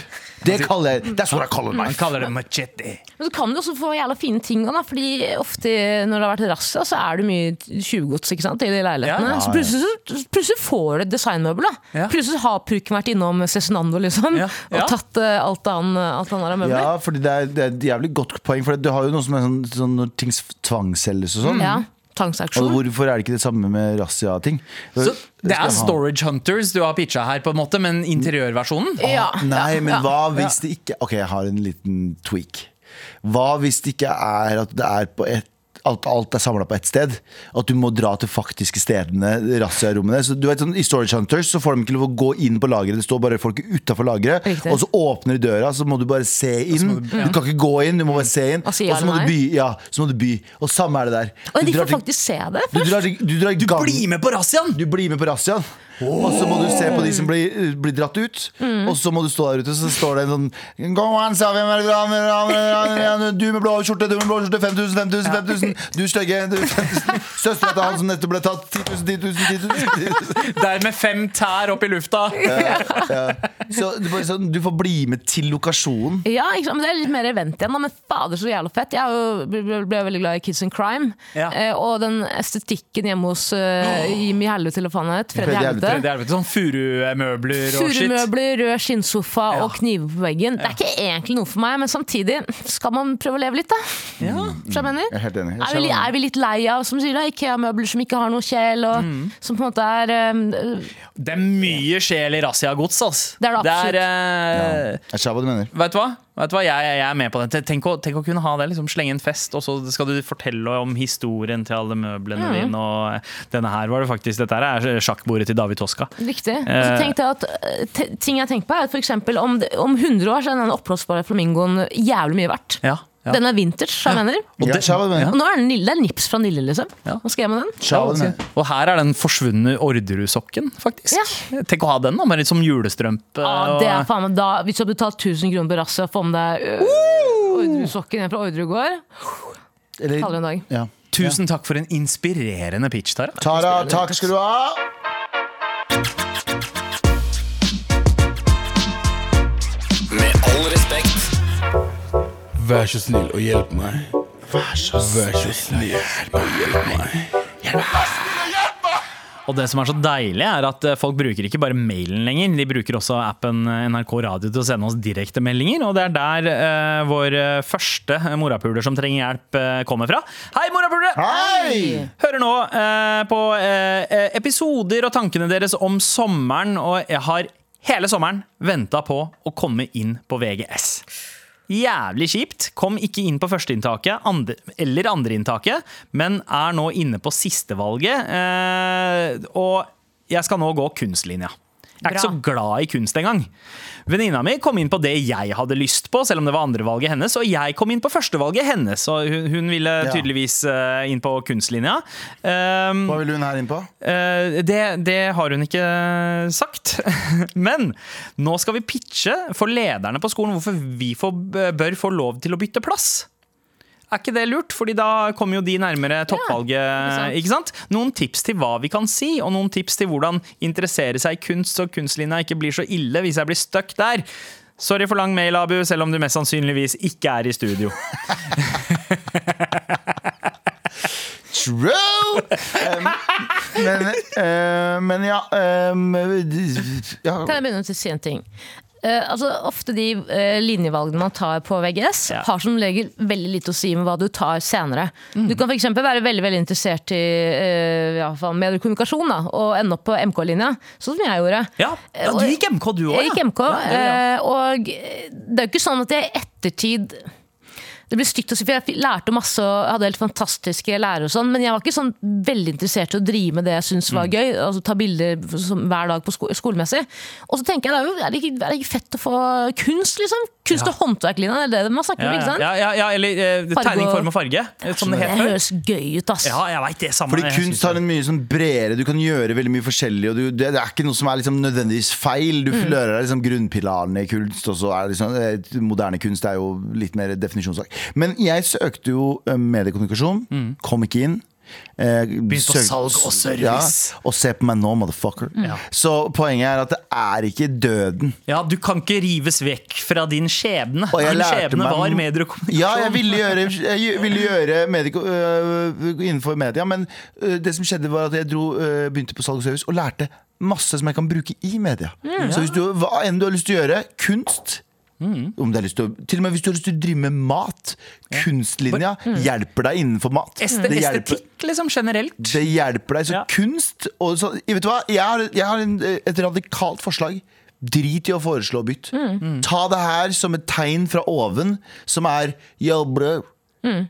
Det kaller jeg That's what I call it, Han man. kaller det machete. Men så kan du også få jævla fine ting òg, da. Fordi ofte når det har vært razzia, så er det mye tjuvgods ikke sant, i de leilighetene. Ja, ja, Så plutselig, så plutselig får du et designmøbel. da Ja. Plutselig har purken vært innom Cezinando liksom, Ja, ja. og tatt eh, alt han, alt han har av møbler. Ja, fordi det er, det er et jævlig godt poeng. For du har jo noe som er sånn, sånn når ting tvangsselges og sånn. Mm. Ja, Altså, Og Tvangsauksjon. hvorfor er det ikke det samme med razzia-ting? Så Skal det er jeg ha- Storage Hunters du har pitcha her, på en måte, men interiørversjonen? Ja. Nei, men Ja. hva hvis det ikke Ok, jeg har en liten tweak. Hva hvis det ikke er at det er på et Alt, alt er samla på ett sted. At du må dra til faktiske stedene. Razzia-rommene Så du vet sånn, I Storage Hunters så får de ikke lov å gå inn på lageret. Det står bare folk utafor lageret. Riktig. Og så åpner de døra, så må du bare se inn. Du, kan ikke gå inn, du må bare se inn. Og Og si ja så må du eller by. Ja, så må du by. Og samme er det der. Og de drar får til- faktisk se det. du drar, til- du drar i gang- Ah, Bli med på razziaen! du blir med på razziaen, og så må du se på de som blir, blir dratt ut. Mm. Og så må du stå der ute, så står det en sånn Go on, sa vi, men, men, men, men, men, Du med blå skjorte, du med blå skjorte, 5000, 5000, 5000. Du stygge, du 5000. Søstera til han som nettopp ble tatt, 10 000, 10 000, 10 000. Der med fem tær opp i [LAUGHS] lufta. Så det er bare sånn, du får bli med til lokasjonen. Ja, ikke sant? men Det er litt mer event igjen, da. men fader så jævla fett. Jeg er jo, ble, ble- ble veldig glad i Kids and Crime. Ja. Eh, og den estetikken hjemme hos eh, Jimmy Helvete eller hva faen han het. Freddy Freddy Helvete. Det er vel sånn furumøbler og shit. Furumøbler, rød skinnsofa Ja. og kniver på veggen. Det er ikke egentlig noe for meg, men samtidig skal man prøve å leve litt, da. Ja. Skjønner du hva jeg Jeg er mener? helt enig. Er vi, er vi litt lei av som sier da, Ikea-møbler som ikke har noe kjel, og Mm. som på en måte er eh, Det er mye sjel i razziagods, ass. Det er det absolutt. eh, Jeg ser hva du mener. Vet du hva? Vet du hva? Jeg, jeg jeg er med på det. Tenk å, tenk å kunne ha det. Liksom, slenge en fest, og så skal du fortelle om historien til alle møblene dine. Og eh, denne her var det faktisk Dette her er sjakkbordet til David Toska. Riktig. Og så Eh. tenkte jeg at eh, te- Ting jeg tenker på, er at for eksempel om, det- om 100 år så er den oppblåsbare flamingoen jævlig mye verdt. Ja, ja. Den er vintage, sa jeg mener. Og det, det- skjer hva du Og mener. nå er den lille, det er nips fra Nille, liksom. Ja. Hva skal jeg med den? Skjer hva du mener. og her er den forsvunne Orderud-sokken, faktisk. Tenk å ha den, da, bare litt som julestrømpe. Ja, og- det er faen meg da Hvis du har betalt 1000 kroner på razzia for å få med deg øh, Ordresokken ned fra Ordregård Eller- Kaller det en dag. Ja. Tusen takk for en inspirerende pitch, Tara. Tara, takk skal du ha. Med all respekt. Vær så snill og hjelp meg. Vær så snill og hjelp meg. Og det som er så deilig, er at eh, folk bruker ikke bare mailen lenger. De bruker også appen eh, NRK Radio til å sende oss direktemeldinger. Og det er der eh, vår eh, første morapuler som trenger hjelp, eh, kommer fra. Hei, morapulere! Hei! Hører nå eh, på eh, episoder og tankene deres om sommeren, og jeg har hele sommeren venta på å komme inn på VGS. Jævlig kjipt. Kom ikke inn på førsteinntaket andre, eller andreinntaket, men er nå inne på sistevalget. Eh, og jeg skal nå gå kunstlinja. Jeg er ikke Bra. så glad i kunst engang. Venninna mi kom inn på det jeg hadde lyst på, selv om det var andrevalget hennes, og jeg kom inn på førstevalget hennes, og hun, hun ville tydeligvis eh, inn på kunstlinja. Um, Hva ville hun her inn på? Eh, det, det har hun ikke sagt. [LAUGHS] Men nå skal vi pitche for lederne på skolen hvorfor vi får, bør få lov til å bytte plass. Er ikke det lurt? Fordi da kommer jo de nærmere toppvalget. ikke ikke sant? Noen tips til hva vi kan si, og noen tips til hvordan interessere seg i kunst, så kunstlinja ikke blir så ille hvis jeg blir stuck der. Sorry for lang mail, Abu, selv om du mest sannsynligvis ikke er i [LAUGHS] studio. True! [LAUGHS] Em, men, eh, men ja, em, ja Kan jeg begynne å si en ting? Eh, altså, ofte de eh, linjevalgene man tar på VGS, Ja. har som regel veldig lite å si med hva du tar senere. Du kan f.eks. være veldig veldig interessert i uh, ja, faen, medier og kommunikasjon da, og ende opp på MK-linja, sånn som jeg gjorde. Ja, ja Du gikk MK, du òg? Jeg gikk MK, Ja, ja, ja. eh, og det er jo ikke sånn at jeg i ettertid det blir stygt å si, for Jeg lærte masse og hadde helt fantastiske lærere, og sånn, men jeg var ikke sånn veldig interessert i å drive med det jeg syntes Mm. var gøy. altså Ta bilder som, hver dag på sko skolemessig. Og så tenker jeg, det er, jo, er, det ikke, er det ikke fett å få kunst, liksom? Kunst- og håndverklinja, det er det man snakker Ja, om, ikke ja, sant? ja, ja, ja, eller eh, Farge tegning, og- form og farge, eh, som det het Det før. høres gøy ut, ass. Ja, jeg vet det samme. Fordi jeg synes kunst har det. en mye sånn bredere Du kan gjøre veldig mye forskjellig og du, det, det er ikke noe som er liksom nødvendigvis feil Du lærer deg liksom grunnpilarene i kunst Og så er det liksom, eh, moderne kunst er jo litt mer definisjonssak Men jeg søkte jo eh, mediekommunikasjon Kom ikke inn Begynte på Mm. salg og service. Mm. Og se på meg nå, motherfucker Ja. Så poenget er at det er ikke døden ja, Du kan ikke rives vekk fra din skjebne. Og jeg Din lærte skjebne meg- var medier og kommunikasjon. Ja, jeg ville gjøre, jeg ville gjøre mediko, øh, innenfor media, men øh, det som skjedde var at jeg dro, øh, begynte på salg og service og lærte masse som jeg kan bruke i media. Mm. Så hvis du, hva enn du har lyst til å gjøre, kunst Mm. om du har lyst til, å, til og med hvis du har lyst til å drive med mat. Kunstlinja hjelper deg innenfor mat. Este, Det hjelper- Mm. estetikk, liksom, generelt. det hjelper deg. Så Ja. kunst og så, Vet du hva? Jeg har, jeg har en, eh, et radikalt forslag. Drit i å foreslå bytt. Mm. Mm. Ta det her som et tegn fra oven, som er Yo, bro. Mm.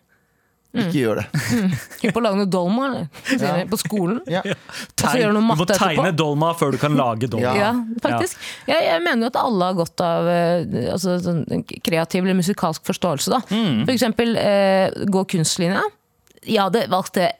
Ikke gjør det. [LAUGHS] Skulle på å lage noe dolma eller? Senere, på skolen. Ja. så Tegn, gjør du noe du må matte tegne etterpå. dolma før du kan lage dolma. Ja. Ja, faktisk. Jeg, jeg mener jo at alle har godt av eh, altså, sånn kreativ eller musikalsk forståelse. Da. Mm. For eksempel eh, gå kunstlinja. Jeg hadde valgt det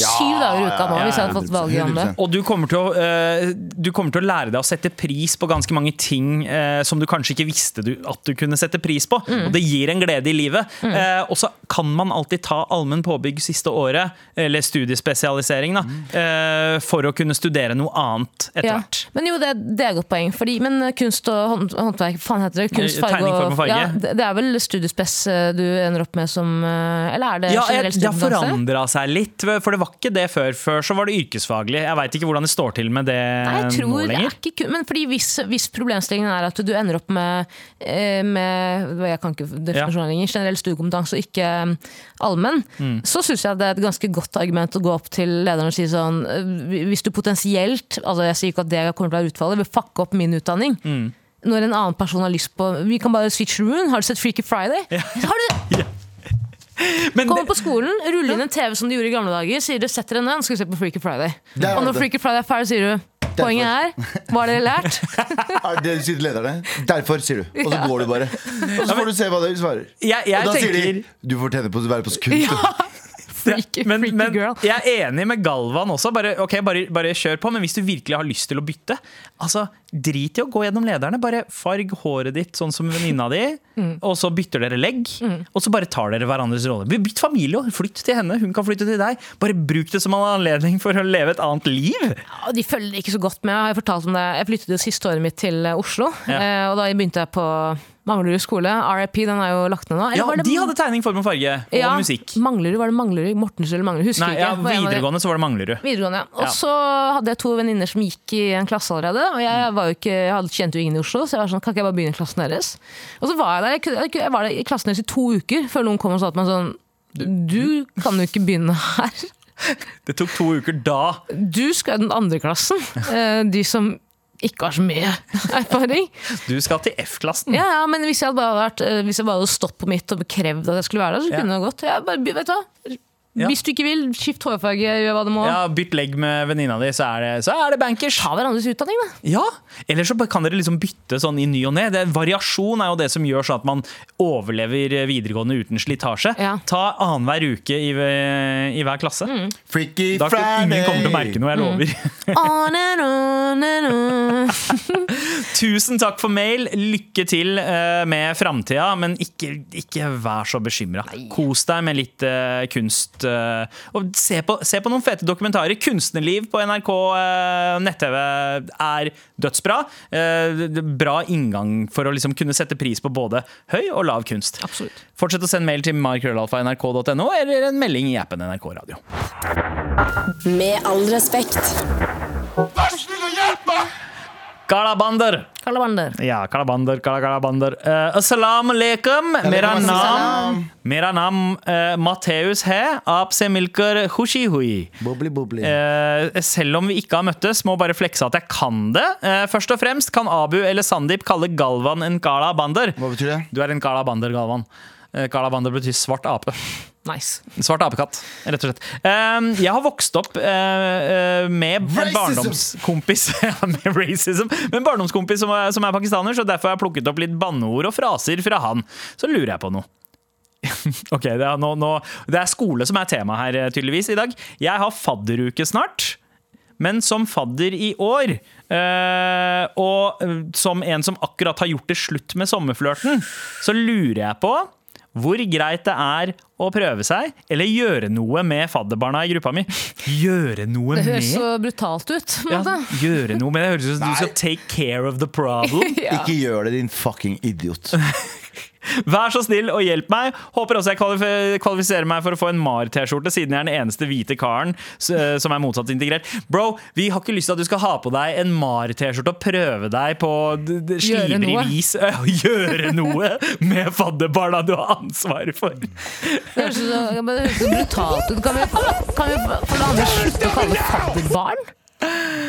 syv dager i uka nå ja, hvis jeg hadde fått valget om det. 100%. Og du kommer, til å, eh, du kommer til å lære deg å sette pris på ganske mange ting eh, som du kanskje ikke visste du, at du kunne sette pris på. Mm. Og det gir en glede i livet. Eh, og så kan man alltid ta allmenn påbygg siste året, eller studiespesialisering, da, eh, for å kunne studere noe annet etter Mm. Ja. hvert. Men jo, det, det er et godt poeng. Fordi, men eh, kunst og hånd, håndverk, hva faen heter det? Kunst, Nei, tegning, form og farge. Ja, det, det er vel studiespes eh, du ender opp med som eh, Eller er det Ja, jeg, generell det har studiekompetanse? forandra seg litt, for det var ikke det før. Før så var det yrkesfaglig. Jeg veit ikke hvordan det står til med det Nei, jeg tror nå det er lenger. ikke kun, men fordi hvis, hvis problemstillingen er at du ender opp med, eh, med hva Jeg kan ikke definisjonen lenger. Generell studiekompetanse og ikke eh, allmenn. Mm. Så syns jeg det er et ganske godt argument å gå opp til lederen og si sånn eh, Hvis du potensielt, altså jeg sier ikke at det kommer til å være utfallet, vil fucke opp min utdanning. Mm. Når en annen person har lyst på Vi kan bare switch room. Har du sett Freaky Friday? Har du, Men Kommer det, på skolen, ruller inn en TV som de gjorde i gamle dager, sier du setter deg ned, nå skal vi se på Freaky Friday. Det er Og når det. Freaky Friday er ferdig, sier du Poenget er, hva har dere [LAUGHS] lært? Er det du sier til lederne? Derfor, sier du. Og så går du bare. Og så får du se hva de svarer. jeg, jeg og da tenker sier de du fortjener på å være på kunst. Freaky, men, freaky men girl. jeg er enig med Galvan også. Bare, ok, bare, bare kjør på. Men hvis du virkelig har lyst til å bytte, altså, drit i å gå gjennom lederne. Bare farg håret ditt sånn som venninna di, [LAUGHS] Mm. og så bytter dere legg. Og så bare tar dere hverandres rolle. Bytt familie og flytt til henne. Hun kan flytte til deg. Bare bruk det som en anledning for å leve et annet liv. Ja, de følger ikke så godt med. Jeg har jo fortalt om det. Jeg flyttet jo siste året mitt til eh, Oslo, Ja. eh, og da begynte jeg på Manglerud skole. RIP, den er jo lagt ned nå. Eller Ja, var det- de hadde tegning, form og farge og Ja, musikk. Manglerud, var det Manglerud? Mortensrud eller Manglerud? Husker Nei, ikke. ja, Var en av de- videregående så var det Manglerud. Videregående, ja. Og Ja. så hadde jeg to venninner som gikk i en klasse allerede. Og jeg var jo ikke, jeg hadde, kjente jo ingen i Oslo, så jeg var sånn, kan ikke jeg bare begynne i klassen deres? Og så var jeg der, jeg, kunne- jeg, kunne- jeg var der i klassen deres i to uker, før noen kom og sa til meg sånn, du kan jo ikke begynne her. Det tok to uker da. [LAUGHS] Du skal i den andre klassen. Eh, De som ikke har så mye erfaring. Du skal til F-klassen. Ja, ja, men hvis jeg hadde bare, vært, eh, hvis jeg bare hadde stått på mitt og krevd at jeg skulle være der, så Ja. kunne det gått. Jeg bare, vet du hva? Ja. Hvis du ikke vil, skift hårfarge, gjør hva du må. Ja, Bytt legg med venninna di, så er det, så er det bankers. Ta hverandres utdanning, da. Ja, Eller så kan dere liksom bytte sånn i ny og ne. Det- Variasjon er jo det som gjør sånn at man overlever eh, videregående uten slitasje. Ja. Ta annenhver uke i, i hver klasse. Freaky Da Friday! kommer ingen kommer til å merke noe, jeg lover. [LAUGHS] On and on and on. Tusen takk for mail. Lykke til eh, med framtida, men ikke, ikke vær så bekymra. Kos deg med litt eh, kunst. eh, og se på, se på noen fete dokumentarer. Kunstnerliv på NRK eh, nett-TV er dødsbra. Eh, det- det- bra inngang for å liksom kunne sette pris på både høy og lav kunst. Absolutt. Fortsett å sende mail til markrøllalfa.nrk.no eller en melding i appen NRK Radio. Med all respekt. Galabander! Kalabander. Ja, kalabander, kala- kalabander. Uh, Assalamu alaikum. Mera naam, mera naam eh, Matteus hai. Aap se milkar khushi hui. Bobli, bobli. Eh, selv om vi ikke har møttes, må bare flekse at jeg kan det. Eh, først og fremst kan Abu eller Sandeep kalle Galvan en kalabander. Hva betyr det? Du er en kalabander, Galvan. Eh, Kalabander betyr svart ape. Nice. Svart apekatt, rett og slett. Ehm, jeg har vokst opp eh, eh, med en Racism! barndomskompis [LAUGHS] Ja, med racism, med en barndomskompis som er, som er pakistaner, så derfor har jeg plukket opp litt banneord og fraser fra han. Så lurer jeg på noe. [LAUGHS] ok, det er, nå, nå, det er skole som er tema her, eh, tydeligvis, i dag. Jeg har fadderuke snart. Men som fadder i år, eh, og eh, som en som akkurat har gjort det slutt med sommerflørten, så lurer jeg på hvor greit det er å prøve seg, eller gjøre noe med fadderbarna i gruppa mi. Gjøre noe Det med? høres så brutalt ut. på en Ja, måte. gjøre noe med det. Høres ut som du skal Nei. take care of the [LAUGHS] problem. Ikke gjør det, din fucking idiot. Vær så snill og hjelp meg. Håper også jeg kvalif- kvalifiserer meg for å få en MAR-T-skjorte, siden jeg er den eneste hvite karen s- eh, som er motsatt integrert. Bro, vi har ikke lyst til at du skal ha på deg en MAR-T-skjorte og prøve deg på d- d- Gjøre noe. slibrig vis. [LAUGHS] Eh, Gjøre noe med fadderbarna du har ansvaret for. Det høres så, ja, men det høres så brutalt ut. Kan vi, kan vi for det andre slutte å kalle det fadderbarn?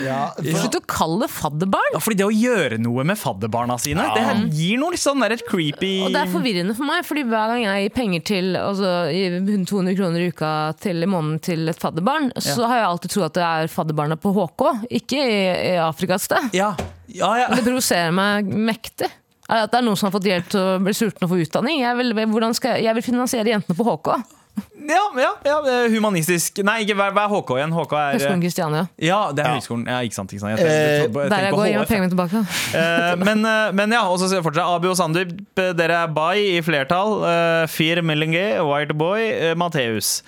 Ja, Slutt å kalle det fadderbarn! Ja, fordi det å gjøre noe med fadderbarna sine, det her gir noe litt sånn der et creepy Og det er forvirrende for meg, fordi hver gang jeg gir penger til altså, gir 200 kroner i uka til i måneden til et fadderbarn, så har jeg alltid trodd at det er fadderbarna på HK, ikke i, i Afrika et sted. Ja, ja, ja. Det provoserer meg mektig. Er det At det er noen som har fått hjelp til å bli sulten og få utdanning. Jeg vil, hvordan skal jeg, jeg vil finansiere jentene på HK. ja, ja, ja. Humanistisk Nei, ikke vær, vær HK igjen. HK er eh, Høgskolen Kristiania. Ja, det er høyskolen. Ja, ikke sant, ikke sant. Jeg Eh, tenkte, jeg Der jeg tenkte går, på gir meg HF. pengene tilbake. Eh, men, eh, men ja, og så fortsetter jeg. Abu og Sandeep, eh, dere er bai i flertall. Eh, Fir Melenge, White Boy, eh, Matheus.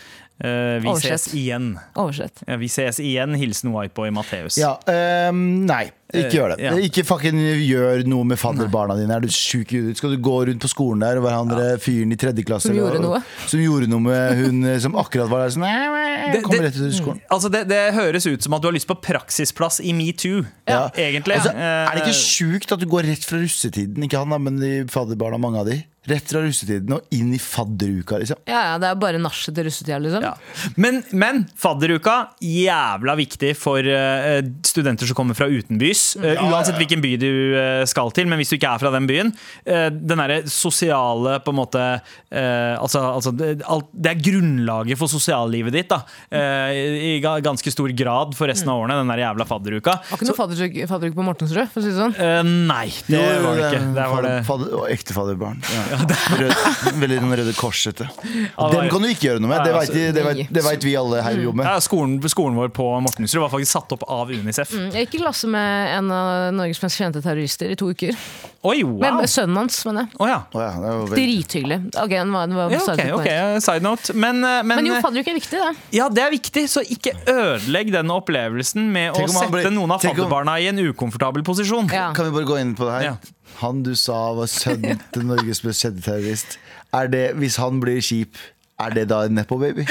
Eh, vi Oversett. ses igjen. Oversett. Ja, vi ses igjen. Hilsen White Boy Matheus. Ja, ehm, nei. Ikke gjør det. Eh, ja. Ikke fucking gjør noe med fadderbarna dine. Er du sjuk i huet? Skal du gå rundt på skolen der og være han der fyren i tredje klasse Som gjorde og- noe. som gjorde noe med hun eh, som akkurat var der? Sånn, "Nei, nei, jeg Det- kommer det- rett ut av skolen. Altså, det, det høres ut som at du har lyst på praksisplass i metoo, Ja. egentlig. Altså, er det Eh, ikke sjukt at du går rett fra russetiden, ikke han da, men de fadderbarna, mange av de, rett fra russetiden og inn i fadderuka, liksom? Ja, ja, det er bare nachet til russetida, liksom. Ja. Men, men fadderuka, jævla viktig for eh, studenter som kommer fra utenbys. Eh, uansett hvilken by du eh, skal til, men hvis du ikke er fra den byen. eh, den derre sosiale på en måte eh, altså, altså, det, alt, det er grunnlaget for sosiallivet ditt, da. eh, i, I ga- ganske stor grad for resten av årene, den der jævla fadderuka. Var ikke noe fadderuk fadderuk på Mortensrud, for å si det sånn. Eh, nei, det var det ikke. Der var det fadder- fadder- og ekte fadderbarn. Ja. Rød, veldig den røde korsete. det Dem var- kan du ikke gjøre noe med. Det altså, Nei, vet, de- det nei. vet, det vet vi alle her Mm. i rommet. ja, skolen, skolen vår på Mortensrud var faktisk satt opp av Unicef. Jeg gikk i klasse med en av Norges mest kjente terrorister i to uker. Oi, wow! Men sønnen hans, mener jeg. Å ja. Å ja, det var veldig- Drithyggelig. Ok, den var, den var Ja, bestartet ok, på helt. ok, side note. Men, eh, men, Men jo, fadderuk er viktig, det. Ja, det er viktig, så ikke ødelegg den opplevelsen med å Tenk om han sette blir- noen av tenk om- fadderbarna i en ukomfortabel posisjon. Ja. Kan vi bare gå inn på det her? Ja. Han du sa var sønnen [LAUGHS] til Norges mest kjente terrorist. Er det, hvis han blir kjip, er det da en [LAUGHS] nepo-baby?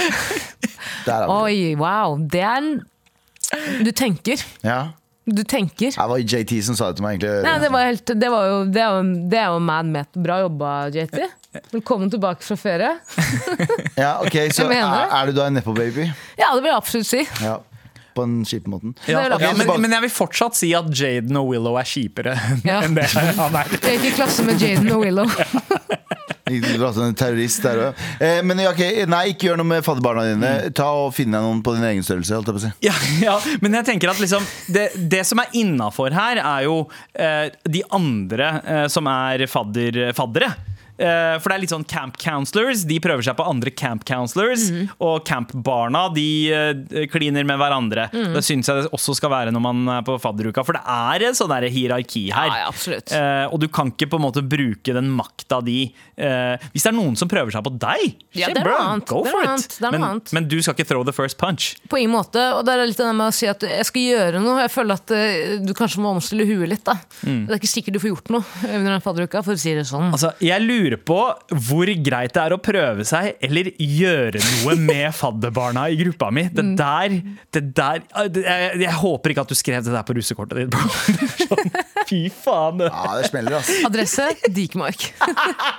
Der er han. Oi, wow. Det er en Du tenker. Ja. Du tenker. Det var JT som sa det til meg, egentlig. Nei, det var helt Det, var jo, det, er, jo, det er jo mad met. Bra jobba, JT. Velkommen tilbake fra ferie. Ja, ok, Så Jeg mener er, [LAUGHS] det. er du da en nepo-baby? Ja, det vil jeg absolutt si. Ja. på den kjipe måten. Ja, Det er ja, lagt. men, men jeg vil fortsatt si at Jaden og Willow er kjipere Ja. [LAUGHS] enn det han er. Jeg gikk i klasse med Jaden og [LAUGHS] Willow. Ikke dra til en terrorist der også. Eh, men ja, ok, nei, ikke gjør noe med fadderbarna dine. Ta og Finn deg noen på din egen størrelse. Holdt jeg på å si. [LAUGHS] Ja, ja, men jeg tenker at liksom Det, det som er innafor her, er jo eh, de andre eh, som er fadder, faddere. Eh, for det er litt sånn camp counselors. De prøver seg på andre camp counselors. Mm. Og campbarna de eh, kliner med hverandre. Mm. Det syns jeg det også skal være når man er på fadderuka, for det er en sånn der hierarki her. Ja, ja, absolutt. Eh, og du kan ikke på en måte bruke den makta di. Eh, hvis det er noen som prøver seg på deg, Ja, shit, det er bro, noe annet. go Det er for noe it. annet. Det er noe men, annet. men du skal ikke throw the first punch. På ingen måte. Og det er litt det der med å si at jeg skal gjøre noe. Jeg føler at eh, du kanskje må omstille huet litt. da. Det er ikke sikkert du får gjort noe under den fadderuka, for å si det sånn. Altså, jeg lurer på hvor greit det er å prøve seg eller gjøre noe [LAUGHS] med fadderbarna i gruppa mi. Det Mm. der, det der jeg, jeg håper ikke at du skrev det der på russekortet ditt, bro. [LAUGHS] Det er Sånn, fy faen. Ja, det smeller, ass. Adresse Dikmark.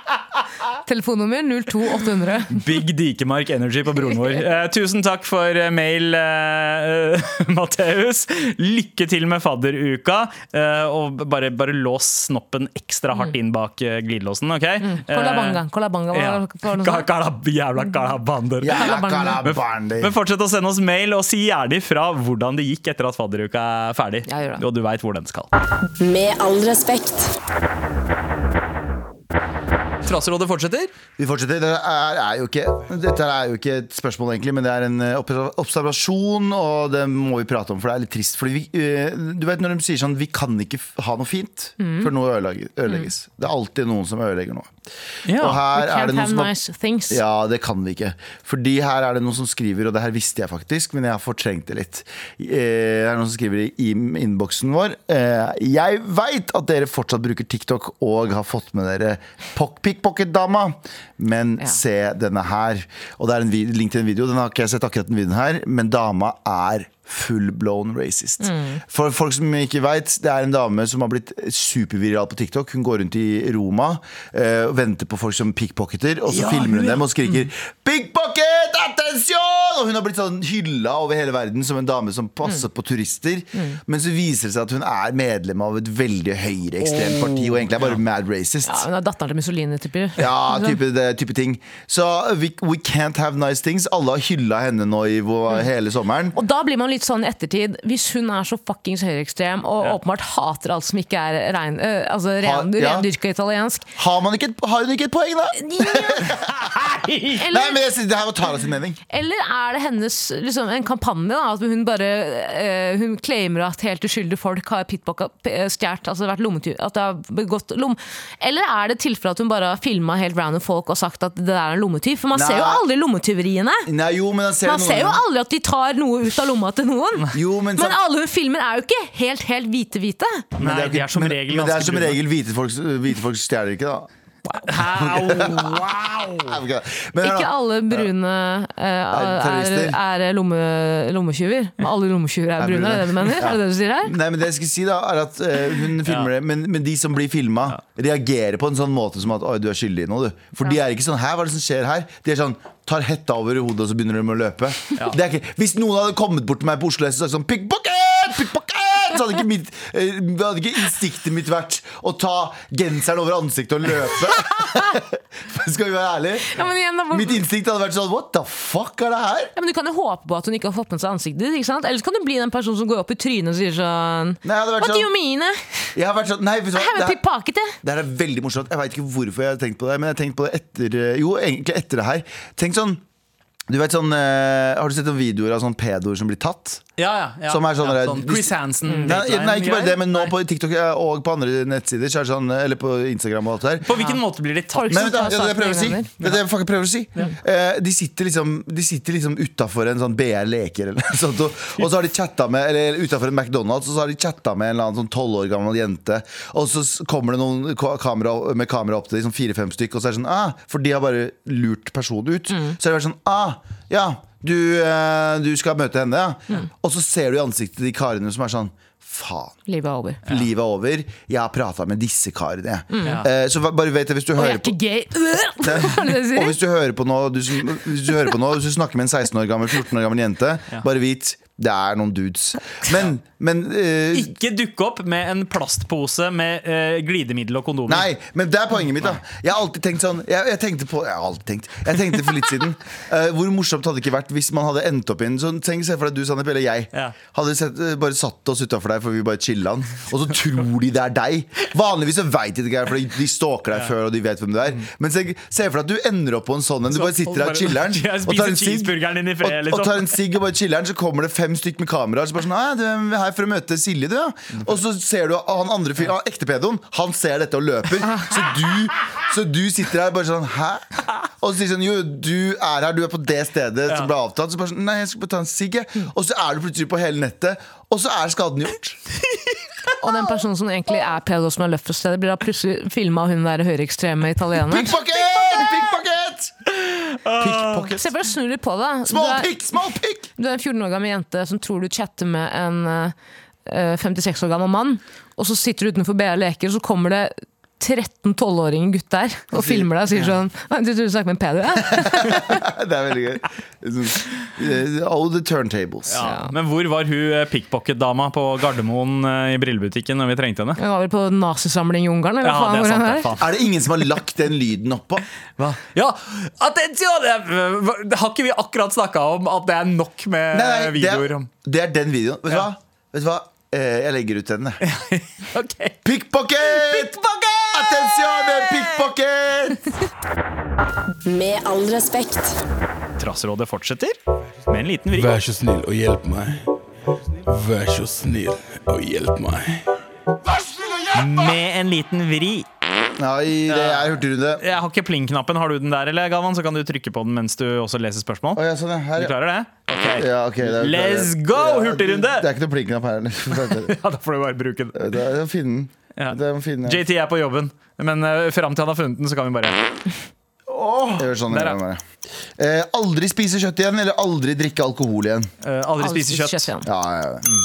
[LAUGHS] Telefonnummer 02800. Big Dikemark Energy på broren vår. Eh, tusen takk for eh, mail, eh, [LAUGHS] Matheus. Lykke til med fadderuka. Eh, og bare, bare lås snoppen ekstra Mm. hardt inn bak eh, glidelåsen, OK? Kolabanga. Kolabanga Eh, Mm. ja. var det- var det noe sånt? Kalab- Jævla kalabander. Jævla Kalabarn. kalabarn, Men fortsett å sende oss mail og si gjerne ifra hvordan det gikk etter at fadderuka er ferdig. Ja, gjør det. Og du veit hvor den skal. Med all respekt. Traserådet fortsetter. Vi fortsetter. Det er, er jo ikke, dette er jo ikke et spørsmål, egentlig, men det er en eh, observa- observasjon, og det må vi prate om, for det er litt trist. Fordi vi, eh, du vet når de sier sånn Vi kan ikke f- ha noe fint Mm. før noe ødelegger- ødelegges. Det er alltid noen som ødelegger noe. Ja. Og her er det Can't noen have som har nice things. Ja, det kan vi ikke. Fordi her er det noen som skriver, og det her visste jeg faktisk, men jeg har fortrengt det litt. Eh, Det er noen som skriver i i innboksen vår. eh, Jeg veit at dere fortsatt bruker TikTok og har fått med dere Pok- pickpocket-dama, men Ja. se denne her. Og det er en vid- link til en video, den har ikke jeg sett akkurat den videoen her, men dama er Full-blown racist. Mm. For folk som ikke veit, det er en dame som har blitt superviral på TikTok. Hun går rundt i Roma eh, og venter på folk som pickpocketer, og så Ja, filmer hun hun, ja. Mm. dem og skriker 'Pickpocket! Attention!' Og hun har blitt sånn hylla over hele verden som en dame som passer Mm. på turister. Men så viser det seg at hun er medlem av et veldig høyreekstremt parti og egentlig er bare mad racist. Ja, hun er datteren til Mussolini, typer. Ja, type, det, type ting. Så we, we can't have nice things. Alle har hylla henne nå i vår, Mm. hele sommeren. Og da blir man litt sånn i ettertid, hvis hun er så fuckings høyreekstrem og åpenbart hater alt som ikke er rein, øh, altså ren, Ha- ja. rendyrka italiensk Har, man ikke, et- har hun ikke et poeng, da? [LAUGHS] Nei, eller, men jeg, synes- Det her var Tara sin mening. eller er det hennes liksom, en kampanje, da, at hun bare øh, Hun claimer at helt uskyldige folk har pitpocka- p- øh, stjålet altså vært lommetyv, at det har begått lom... Eller er det tilfelle at hun bare har filma helt random folk og sagt at det der er en lommetyv? For man Nei. ser jo aldri lommetyveriene! Nei, jo, men han ser Man noen ser jo ganger- aldri at de tar noe ut av lomma til noen. Jo, men Men sant- alle hun filmer er jo ikke helt, helt hvite-hvite. Nei, jo de ikke- er som men- regel men det er ganske som brune. regel hvite folk, hvite folk stjeler ikke, da. [LAUGHS] Wow! Nei, ok. Men, hør Ikke da. alle brune eh, er, terrorister. er eh, lomme, lommetyver. Men Alle lommetyver er brune, brune. Mm. er det det du mener? Er det det du sier her? Nei, men det jeg skal si da Er at eh, hun filmer det men, men de som blir filma, reagerer på en sånn måte som at Oi, du er skyldig i noe, du. For de er ikke sånn Her, hva er det som skjer her? De er sånn Tar hetta over hodet, og så begynner de å løpe. Det er ikke, hvis noen hadde kommet bort til meg på Oslo S og sagt sånn Pickpocket! Pickpocket! Så hadde ikke, mitt, eh, hadde ikke instinktet mitt vært å ta genseren over ansiktet og løpe. [LAUGHS] skal vi være ærlige? Ja, men igjen, da, hvor- Mitt instinkt hadde vært sånn What the fuck er det her? ja, men du kan jo håpe på at hun ikke har fått med seg ansiktet ditt. ikke sant? Ellers kan du bli den personen som går opp i trynet og sier sånn Nei, jeg hadde vært What do you sånn, mean? I jeg hadde vært sånn Nei, vet du hva? have det a her- pickpocket. Det her er veldig morsomt. Jeg veit ikke hvorfor jeg har tenkt på det. Men jeg har tenkt på det etter eh, Jo, egentlig etter det her. Tenk sånn du vet sånn, eh, Har du sett noen videoer av sånn pedoer som blir tatt? Ja, ja, ja. Som er sånn ja, der- Chris Hansen. Nei, dateline nei, ikke bare det, men nå greier. på TikTok eh, og på andre nettsider så er det sånn, eller på Instagram og alt det der. På hvilken måte blir de tatt? Folk Nei, som men da, det er tar det jeg saken prøver å i si. hender. Det er det jeg fucking prøver å si. Eh, de sitter liksom, de sitter liksom utafor en sånn BR Leker eller noe sånt, og, og så har de chatta med Eller utafor en McDonald's, og så har de chatta med en eller annen sånn tolv år gammel jente, og så s- kommer det noen ka- kamera, med kamera opp til liksom fire-fem stykk, og så er det sånn ah, For de har bare lurt personen ut. Mm. Så har det vært sånn ah, Ja, du, eh, du skal møte henne, ja. Mm. Og så ser du i ansiktet til de karene som er sånn Faen. Livet er over. Livet er over. Jeg har prata med disse karene. Ja. Eh, så bare vet det hvis du Mm. Og hører jeg er på ikke gay. [LAUGHS] Er det det du og sier? hvis du hører på nå, du, som- hvis du hører på nå, hvis du snakker med en 16 år gammel, 14 år gammel jente, bare vit Det er noen dudes. Men, men eh, Ikke dukke opp med en plastpose med eh, glidemiddel og kondomer. Nei, men det er poenget mitt. da Jeg har alltid tenkt sånn Jeg, jeg tenkte på Jeg har alltid tenkt Jeg tenkte for litt [LAUGHS] siden eh, Hvor morsomt hadde det ikke vært hvis man hadde endt opp i en sånn Tenk se for deg du, Sandeep, eller jeg. Ja. Hadde sett, eh, bare satt oss utafor deg, for vi bare chilla den. Og så tror de det er deg. Vanligvis så veit de det ikke er for de stalker deg før, og de vet hvem du er. Mm. Men se, se for deg at du ender opp på en sånn en. Du bare sitter der og [LAUGHS] chiller'n. Jeg Og tar en spiser sigg. cheeseburgeren din i Og, fred, og liksom. tar en sigg og bare chiller'n, så kommer det fem stykk med kameraer. Så bare sånn, «Nei, du er her for å møte Silje, du, ja. Og så ser du han andre fyren, han ekte pedoen, han ser dette og løper. Så du, så du sitter her bare sånn Hæ? Og så sier sånn Jo, du er her, du er på det stedet som ble avtalt. Så bare sånn Nei, jeg skal bare ta en sigg, jeg. Og så er du plutselig på hele nettet, og så er skaden gjort. Og den personen som egentlig er pedo som er løft for stedet, blir da plutselig filma av hun der høyreekstreme italieneren. Pickpocket! Pickpocket! Pickpocket. Se bare snu litt på det. Du Small er, pick, small pick! [LAUGHS] du er en 14 år gammel jente som tror du chatter med en eh, 56 år gammel mann, og så sitter du utenfor BA Leker, og så kommer det 13 12-åringer gutter og filmer deg og sier sånn «Å, Du tror du snakker med en pedo, [LAUGHS] ja? Det er veldig gøy. Sånn, eh, All the turntables. Ja. Men hvor var hun eh, pickpocket-dama på Gardermoen eh, i brillebutikken når vi trengte henne? Hun var vel på nazisamling i Ungarn, eller Ja, hva faen det er hvor sant. hun Det, er? faen. Er det ingen som har lagt den lyden oppå? Ja, attention! Har ikke vi akkurat snakka om at det er nok med det, Eh, videoer er, om det er den videoen. Vet du Ja. hva? Vet du hva? Eh, jeg legger ut [LAUGHS] den. jeg. Ok. Pickpocket! Attenzione, pickpocket! Med all respekt. Trassrådet fortsetter med en liten vri. Vær så snill og hjelp meg. Vær så snill og hjelp meg. Med en liten vri. Nei, det er hurtigrunde. Jeg har ikke pling-knappen. Har du den der, eller, Galvan? Så kan du trykke på den mens du også leser spørsmål. Å ja, sånn, ja. Du Her, ja. klarer det? Ok. Ja, ok, det er- Let's go, hurtigrunde! Ja, Det er ikke noe plinkknapp her. liksom. Det Ja, da får du bare bruke den. er- Det er å finne Ja. den. Det er å finne den. JT er på jobben, men uh, fram til han har funnet den, så kan vi bare Jeg gjør sånn, Der, jeg gjør det. eh, aldri spise kjøtt igjen, eller aldri drikke alkohol igjen. eh, aldri spise kjøtt. igjen. Ja, ja, ja. Mm.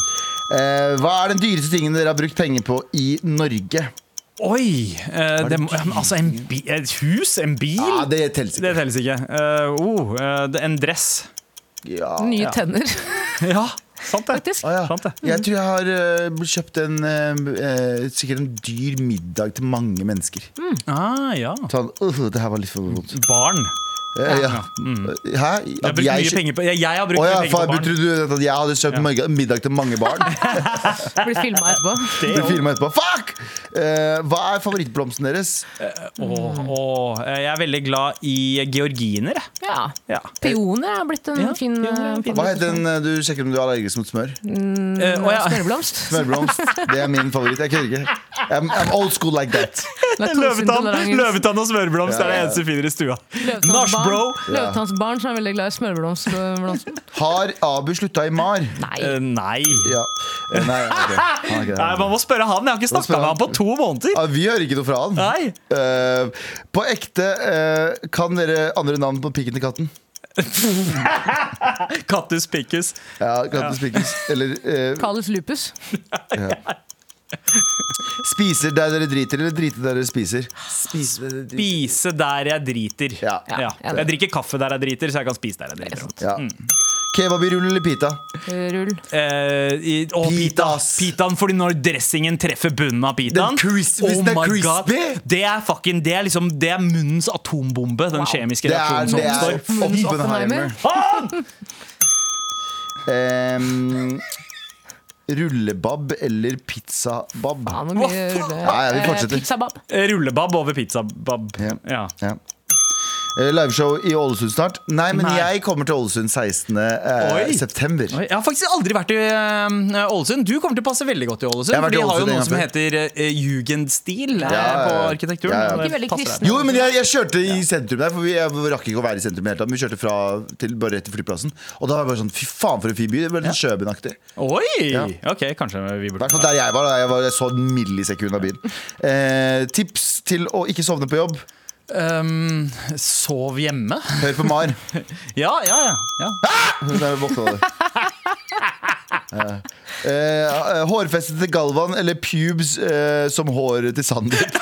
Eh, hva er den dyreste tingen dere har brukt penger på i Norge? Oi! eh, det, må- men altså, en bi et hus? En bil? Ja, det det, teller ikke. telles ikke. Eh, oh, eh, det- [LAUGHS] en dress. Ja. Nye tenner, [LAUGHS] Ja, sant det. faktisk. Å ja. Sant det. Mm. Jeg tror jeg har eh, kjøpt en eh, eh, sikkert en dyr middag til mange mennesker. Ah, ja. Sånn, uh, det her var litt for vondt. Barn. Eh, ja. Hæ? Mm. Jeg har brukt mye kjø- penger på, jeg, jeg har brukt Å ja, mye faen, penger på barn. trodde du at jeg hadde kjøpt morga- middag til mange barn? [LAUGHS] blir filma etterpå. Det, Det filmet etterpå. Fuck! Eh, hva er favorittblomsten deres? Åh, åh, eh, jeg er veldig glad i georginer. jeg. Eh, Ja. Ja. Peoner er blitt en Ja, fin peoner er en fin- Hva heter den eh, du sjekker om du er allergisk mot smør? Eh, eh, å ja. smørblomst. Smørblomst. Det er min favoritt. Jeg kødder ikke. I'm, I'm old school like that. [LAUGHS] Løvetann, Laktoseintolerans. løvetann og smørblomst er det Ja, ja. eneste du finner i stua. Nach, Løvetannsbarn- bro! Løvetannsbarn som er veldig glad i smørblomst. og blomster. Har Abu slutta i MAR? Nei. Eh, nei. Ja. Eh, Nei, ok. Han er ikke nei. det. Man må spørre han. Jeg har ikke snakka spørre med han. han på to måneder. Ja, vi hører ikke noe fra han. Nei. Eh, på ekte, eh, kan dere andre navn på pikken til katten? Kattus pikkus. Ja, katten spikkes. Eller eh, Kalus lupus. spiser der dere driter, eller drite der dere spiser. Spise der dere driter. Spise der jeg driter. Ja. Ja. Ja. Jeg drikker kaffe der jeg driter, så jeg kan spise der jeg driter. Ja. Kebab i rull eller pita? Rull. Eh, i, å, pita. Pitas. Pitaen, fordi når dressingen treffer bunnen av pitaen oh Den crisp- hvis den er crispy. Det er fucking, det er liksom, det er munnens atombombe, den kjemiske Det er, reaksjonen som det er oppstår. Oppenheimer. Oppenheimer. Em, Ehm, rullebab eller pizzabab? Ja, nå blir det rulle. Ja, ja, vi Eh, fortsetter. Pizzabab. Eh, Rullebab over pizzabab. Ja. Ja. Ja. Eh, Liveshow i Ålesund snart? Nei, men Nei. jeg kommer til Ålesund 16. eh, Oi. september. Oi, Jeg har faktisk aldri vært i eh, Ålesund. Du kommer til å passe veldig godt i Ålesund. Jeg har vært For de i har jo Ålesund en noe som gang heter eh, jugendstil eh, ja, på ja. arkitekturen. Ja, ja. og det Ikke veldig passer deg. kristne. Jo, men jeg, jeg kjørte i sentrum der, for vi, jeg rakk ikke å være i sentrum. i det hele tatt, men Vi kjørte fra til, bare rett til flyplassen. Og da var jeg bare sånn Fy faen, for en fin by. Det ble litt Sjøbyen-aktig. Oi! Ok, kanskje I vi burde hvert fall der jeg var. da Jeg, var, jeg så en millisekund av byen. Eh, tips til å ikke sovne på jobb. Ehm, Sov hjemme? Hør på Mar. Ja, ja, ja. ja. Hun er våkna, du. Eh, eh, hårfestet til Galvan eller pubes eh, som håret til Sandeep.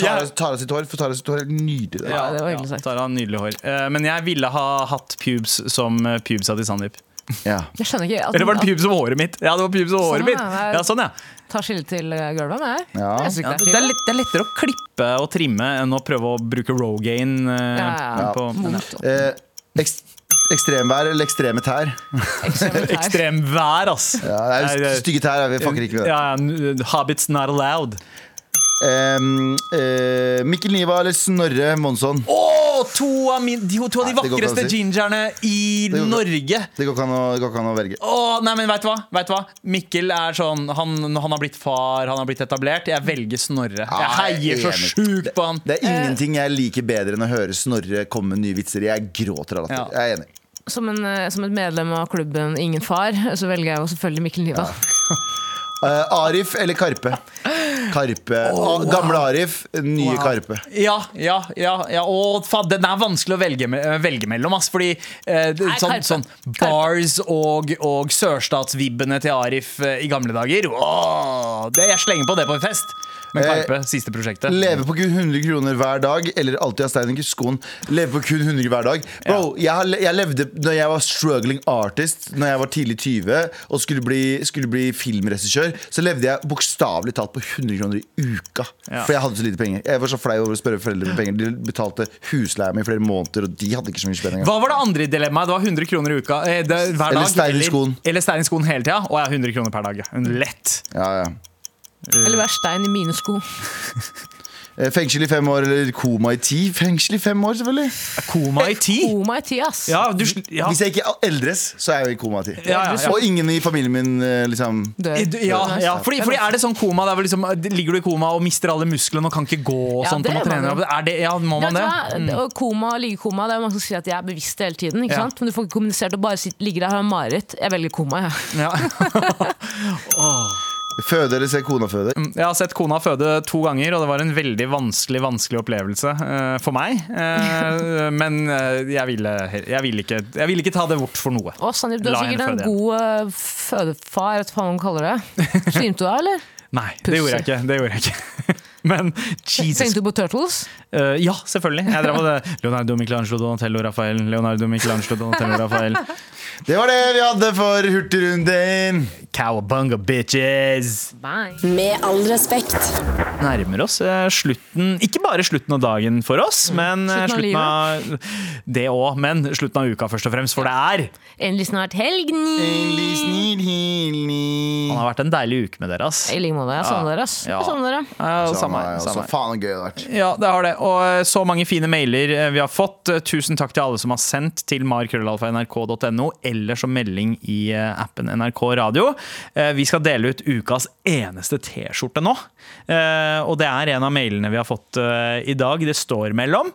Tara, Tara sitt hår, for Tara sitt hår er nydelig. Ja, det var hyggelig sagt. Tara har nydelig hår. Eh, Men jeg ville ha hatt pubes som eh, pubesa til Sandeep. Ja. Jeg skjønner ikke at Eller var det man pubes og håret mitt? Ja, det var pubes og håret Sånn, mitt. ja. Ja, sånn, ja. tar skille til eh, gulvet med. jeg. Ja. Jeg synes Ja, ikke det, det er er litt, det er lettere å klippe og trimme enn å prøve å bruke rogaine. eh, Ja, ja, ja. På, men ja. Eh, ekst ekstremvær eller ekstreme tær? fint. Ekstremvær, ass. Ja, det er jo Nei, det- stygge tær. Vi fucker ikke med det. Ja, ja, n- habits not allowed. Ehm, eh, Mikkel Niva eller Snorre Monsson? Å, to av, min, de, to av Nei, det de går ikke an å vakreste si. gingerne i går ikke. Norge. Det går ikke an å, det går ikke an å velge. Åh, nei, men vet du hva? Vet du hva? Mikkel er sånn han, han har blitt far, han har blitt etablert. Jeg velger Snorre. Jeg Ja, jeg er heier så enig. sjukt på han. Det er ingenting jeg liker bedre enn å høre Snorre komme med nye vitser. Jeg gråter av Ja. latter. Jeg er enig. Som, en, eh, som et medlem av klubben Ingen far, så velger jeg jo selvfølgelig Mikkel Niva. Eh, Arif eller Karpe? Karpe. Ah, Gamle Arif, nye Karpe. Ja, ja, ja. ja. Å, faen, den er vanskelig å velge, me- eh, velge mellom, ass. Fordi eh, det- Nei, sånn, Karpe. sånn bars og, og sørstatsvibbene til Arif eh, i gamle dager Åh, det, Jeg slenger på det på en fest. Men Eh, Karpe, siste prosjektet. Leve på kun 100 kroner hver dag, eller alltid ha stein i skoen. Leve på kun 100 hver dag. Bro, jeg, har, le- jeg levde når jeg var struggling artist, når jeg var tidlig 20 og skulle bli, skulle bli filmregissør, så levde jeg bokstavelig talt på 100 kroner i uka. Ja. For jeg hadde så lite penger. Jeg var så flau over å spørre foreldre om penger. De betalte husleia mi i flere måneder, og de hadde ikke så mye spenning. Hva var det andre dilemmaet? Det var 100 kroner i uka eh, det, hver Eller dag. stein i skoen. Eller stein i skoen hele tida. Og jeg har 100 kroner per dag. ja. Lett. Ja, ja. Eller vær stein i mine sko. Eh, Fengsel i fem år eller koma i ti? Fengsel i fem år, selvfølgelig. Koma i ti? Oh my tea, ass. Ja, du, sl- ja. Hvis jeg ikke eldres, så er jeg jo i koma i ti. Ja, ja, ja. Og ingen i familien min eh, liksom Dør. I- du- ja, ja. Fordi, Det er fordi bra. er det sånn koma der hvor liksom, eh, ligger du i koma og mister alle musklene og kan ikke gå og sånn sånt? Ja, det og må må trene man. opp? Er det, ja, må Ja, man vet det? du hva? Og koma og liggekoma, det er jo mange som sier at jeg er bevisst hele tiden. Ikke Ja. sant? Men du får ikke kommunisert og bare sitte, ligger der og har mareritt. Jeg velger koma, jeg. [LAUGHS] Ja. [LAUGHS] Føde eller se kona føde? Jeg har sett kona føde to ganger, og det var en veldig vanskelig vanskelig opplevelse eh, for meg. Eh, [LAUGHS] men eh, jeg ville, jeg, ville ikke, jeg ville ikke ta det bort for noe. Å, Sandeep, du La henne er sikkert en føde igjen. god eh, fødefar, jeg vet faen hva man kaller [LAUGHS] det. Svimte du av, eller? Nei, det gjorde jeg ikke. Det gjorde jeg ikke. [LAUGHS] Men Jesus Tenkte du på Turtles? Eh, ja, selvfølgelig. Jeg drev med det. [LAUGHS] Leonardo Michelangelo Donatello Rafael. Leonardo Michelangelo Donatello [LAUGHS] Rafael. Det var det vi hadde for Hurtigrunden. Cowabunga bitches! Bye. Med all respekt. Nærmer oss eh, slutten. Ikke bare slutten av dagen for oss, men eh, Slutten slutten av av Det òg, men slutten av uka først og fremst, for det er Endelig snart helg! ni. Det Faen, har vært en deilig uke med dere, ass. I like måte. Jeg savner dere, ass. Sånn Ja. Jeg savner dere. Ja, samme, ja, samme. så faen så gøy det har vært. Ja, det har det. Og eh, så mange fine mailer eh, vi har fått. Eh, Tusen takk til alle som har sendt til markrøllalfa.nrk.no, eller som melding i eh, appen NRK Radio. Eh, Vi skal dele ut ukas eneste T-skjorte nå. Eh, Og det er en av mailene vi har fått eh, i dag. Det står mellom.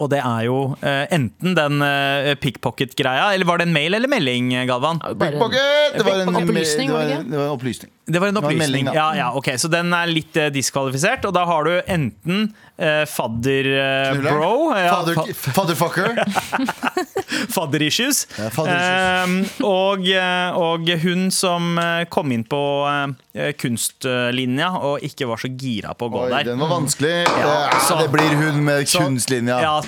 Og det er jo eh, enten den eh, pickpocket-greia, eller var det en mail eller melding, eh, Galvan? Big Pocket! Det var en Opplysning, det var, var det ikke? det var en opplysning. Det var en var en opplysning. melding, da. ja, ja, ok, Så den er litt eh, diskvalifisert. Og da har du enten eh, fadder eh, Knuller. bro ja, Father, fa- fatherfucker. Fadder issues. Ja, fadder issues. Eh, og, eh, og hun som eh, kom inn på eh, kunstlinja og ikke var så gira på [LAUGHS] å gå Oi, der. den var vanskelig. Ja, Eh, så- det blir hun med Så- kunstlinja. Ja.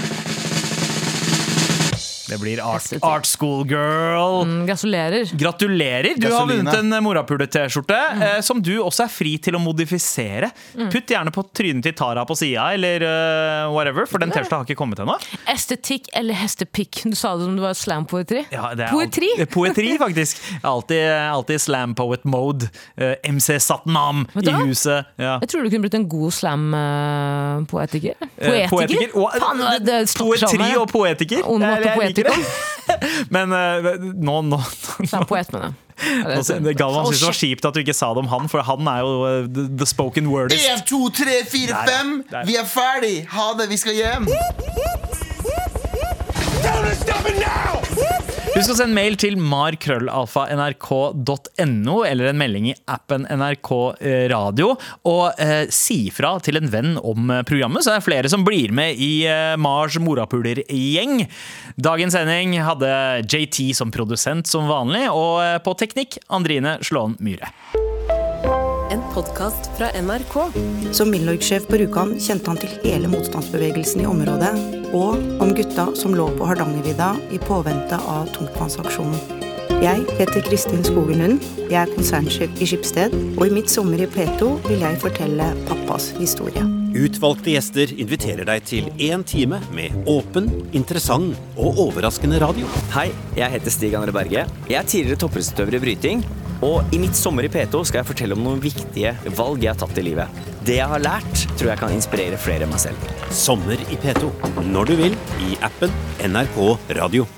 Det blir art, Estetikk. art school girl. Mm, Gratulerer. Gratulerer! Du har Gasoline. vunnet en eh, morapule-T-skjorte, eh, som du også er fri til å modifisere. Mm. Putt gjerne på trynet til Tara på sida, eller eh, whatever, for den T-skjorta har ikke kommet ennå. Estetikk eller hestepikk? Du sa det som det var slampoetri. Ja, det er alt- Poetri! [LAUGHS] eh, Poetri, faktisk. Jeg er Alltid, alltid slam poet mode. Eh, MC Satnam Vet i du hva? huset. Ja. Jeg tror du kunne blitt en god slam-poetiker. Eh, Poetiker? Poetiker. Og, Faen, det, det stopper seg poetri med. og poetiker. Onomatopoetikum. [LAUGHS] Men eh, nå, [LAUGHS] nå, nå, Slampoet, mener jeg. Ja, det nå er sant. Galvan Å, syntes det var shit. kjipt at du ikke sa det om han, for han er jo eh, the, the spoken wordist. En, to, tre, fire, Der, ja. fem. Der. Vi er ferdig. Ha det, vi skal hjem. Husk å sende mail til markrøllalfa.nrk.no eller en melding i appen NRK eh, Radio. Og eh, si fra til en venn om eh, programmet, så er det flere som blir med i eh, Mars morapuler-gjeng. Dagens sending hadde JT som produsent som vanlig, og eh, på teknikk Andrine Slåen Myhre. En podkast fra NRK. Som Milorg-sjef på Rjukan kjente han til hele motstandsbevegelsen i området, og om gutta som lå på Hardangervidda i påvente av tungtvannsaksjonen. Jeg heter Kristin Skogen Lund. Jeg er konsernsjef i Skipsted. Og i mitt sommer i P2 vil jeg fortelle pappas historie. Utvalgte gjester inviterer deg til én time med åpen, interessant og overraskende radio. Hei, jeg heter Stig André Berge. Jeg er tidligere toppidrettsutøver i bryting. Og i mitt sommer i P2 skal jeg fortelle om noen viktige valg jeg har tatt i livet. Det jeg har lært, tror jeg kan inspirere flere enn meg selv. Sommer i P2. Når du vil, i appen NRK Radio.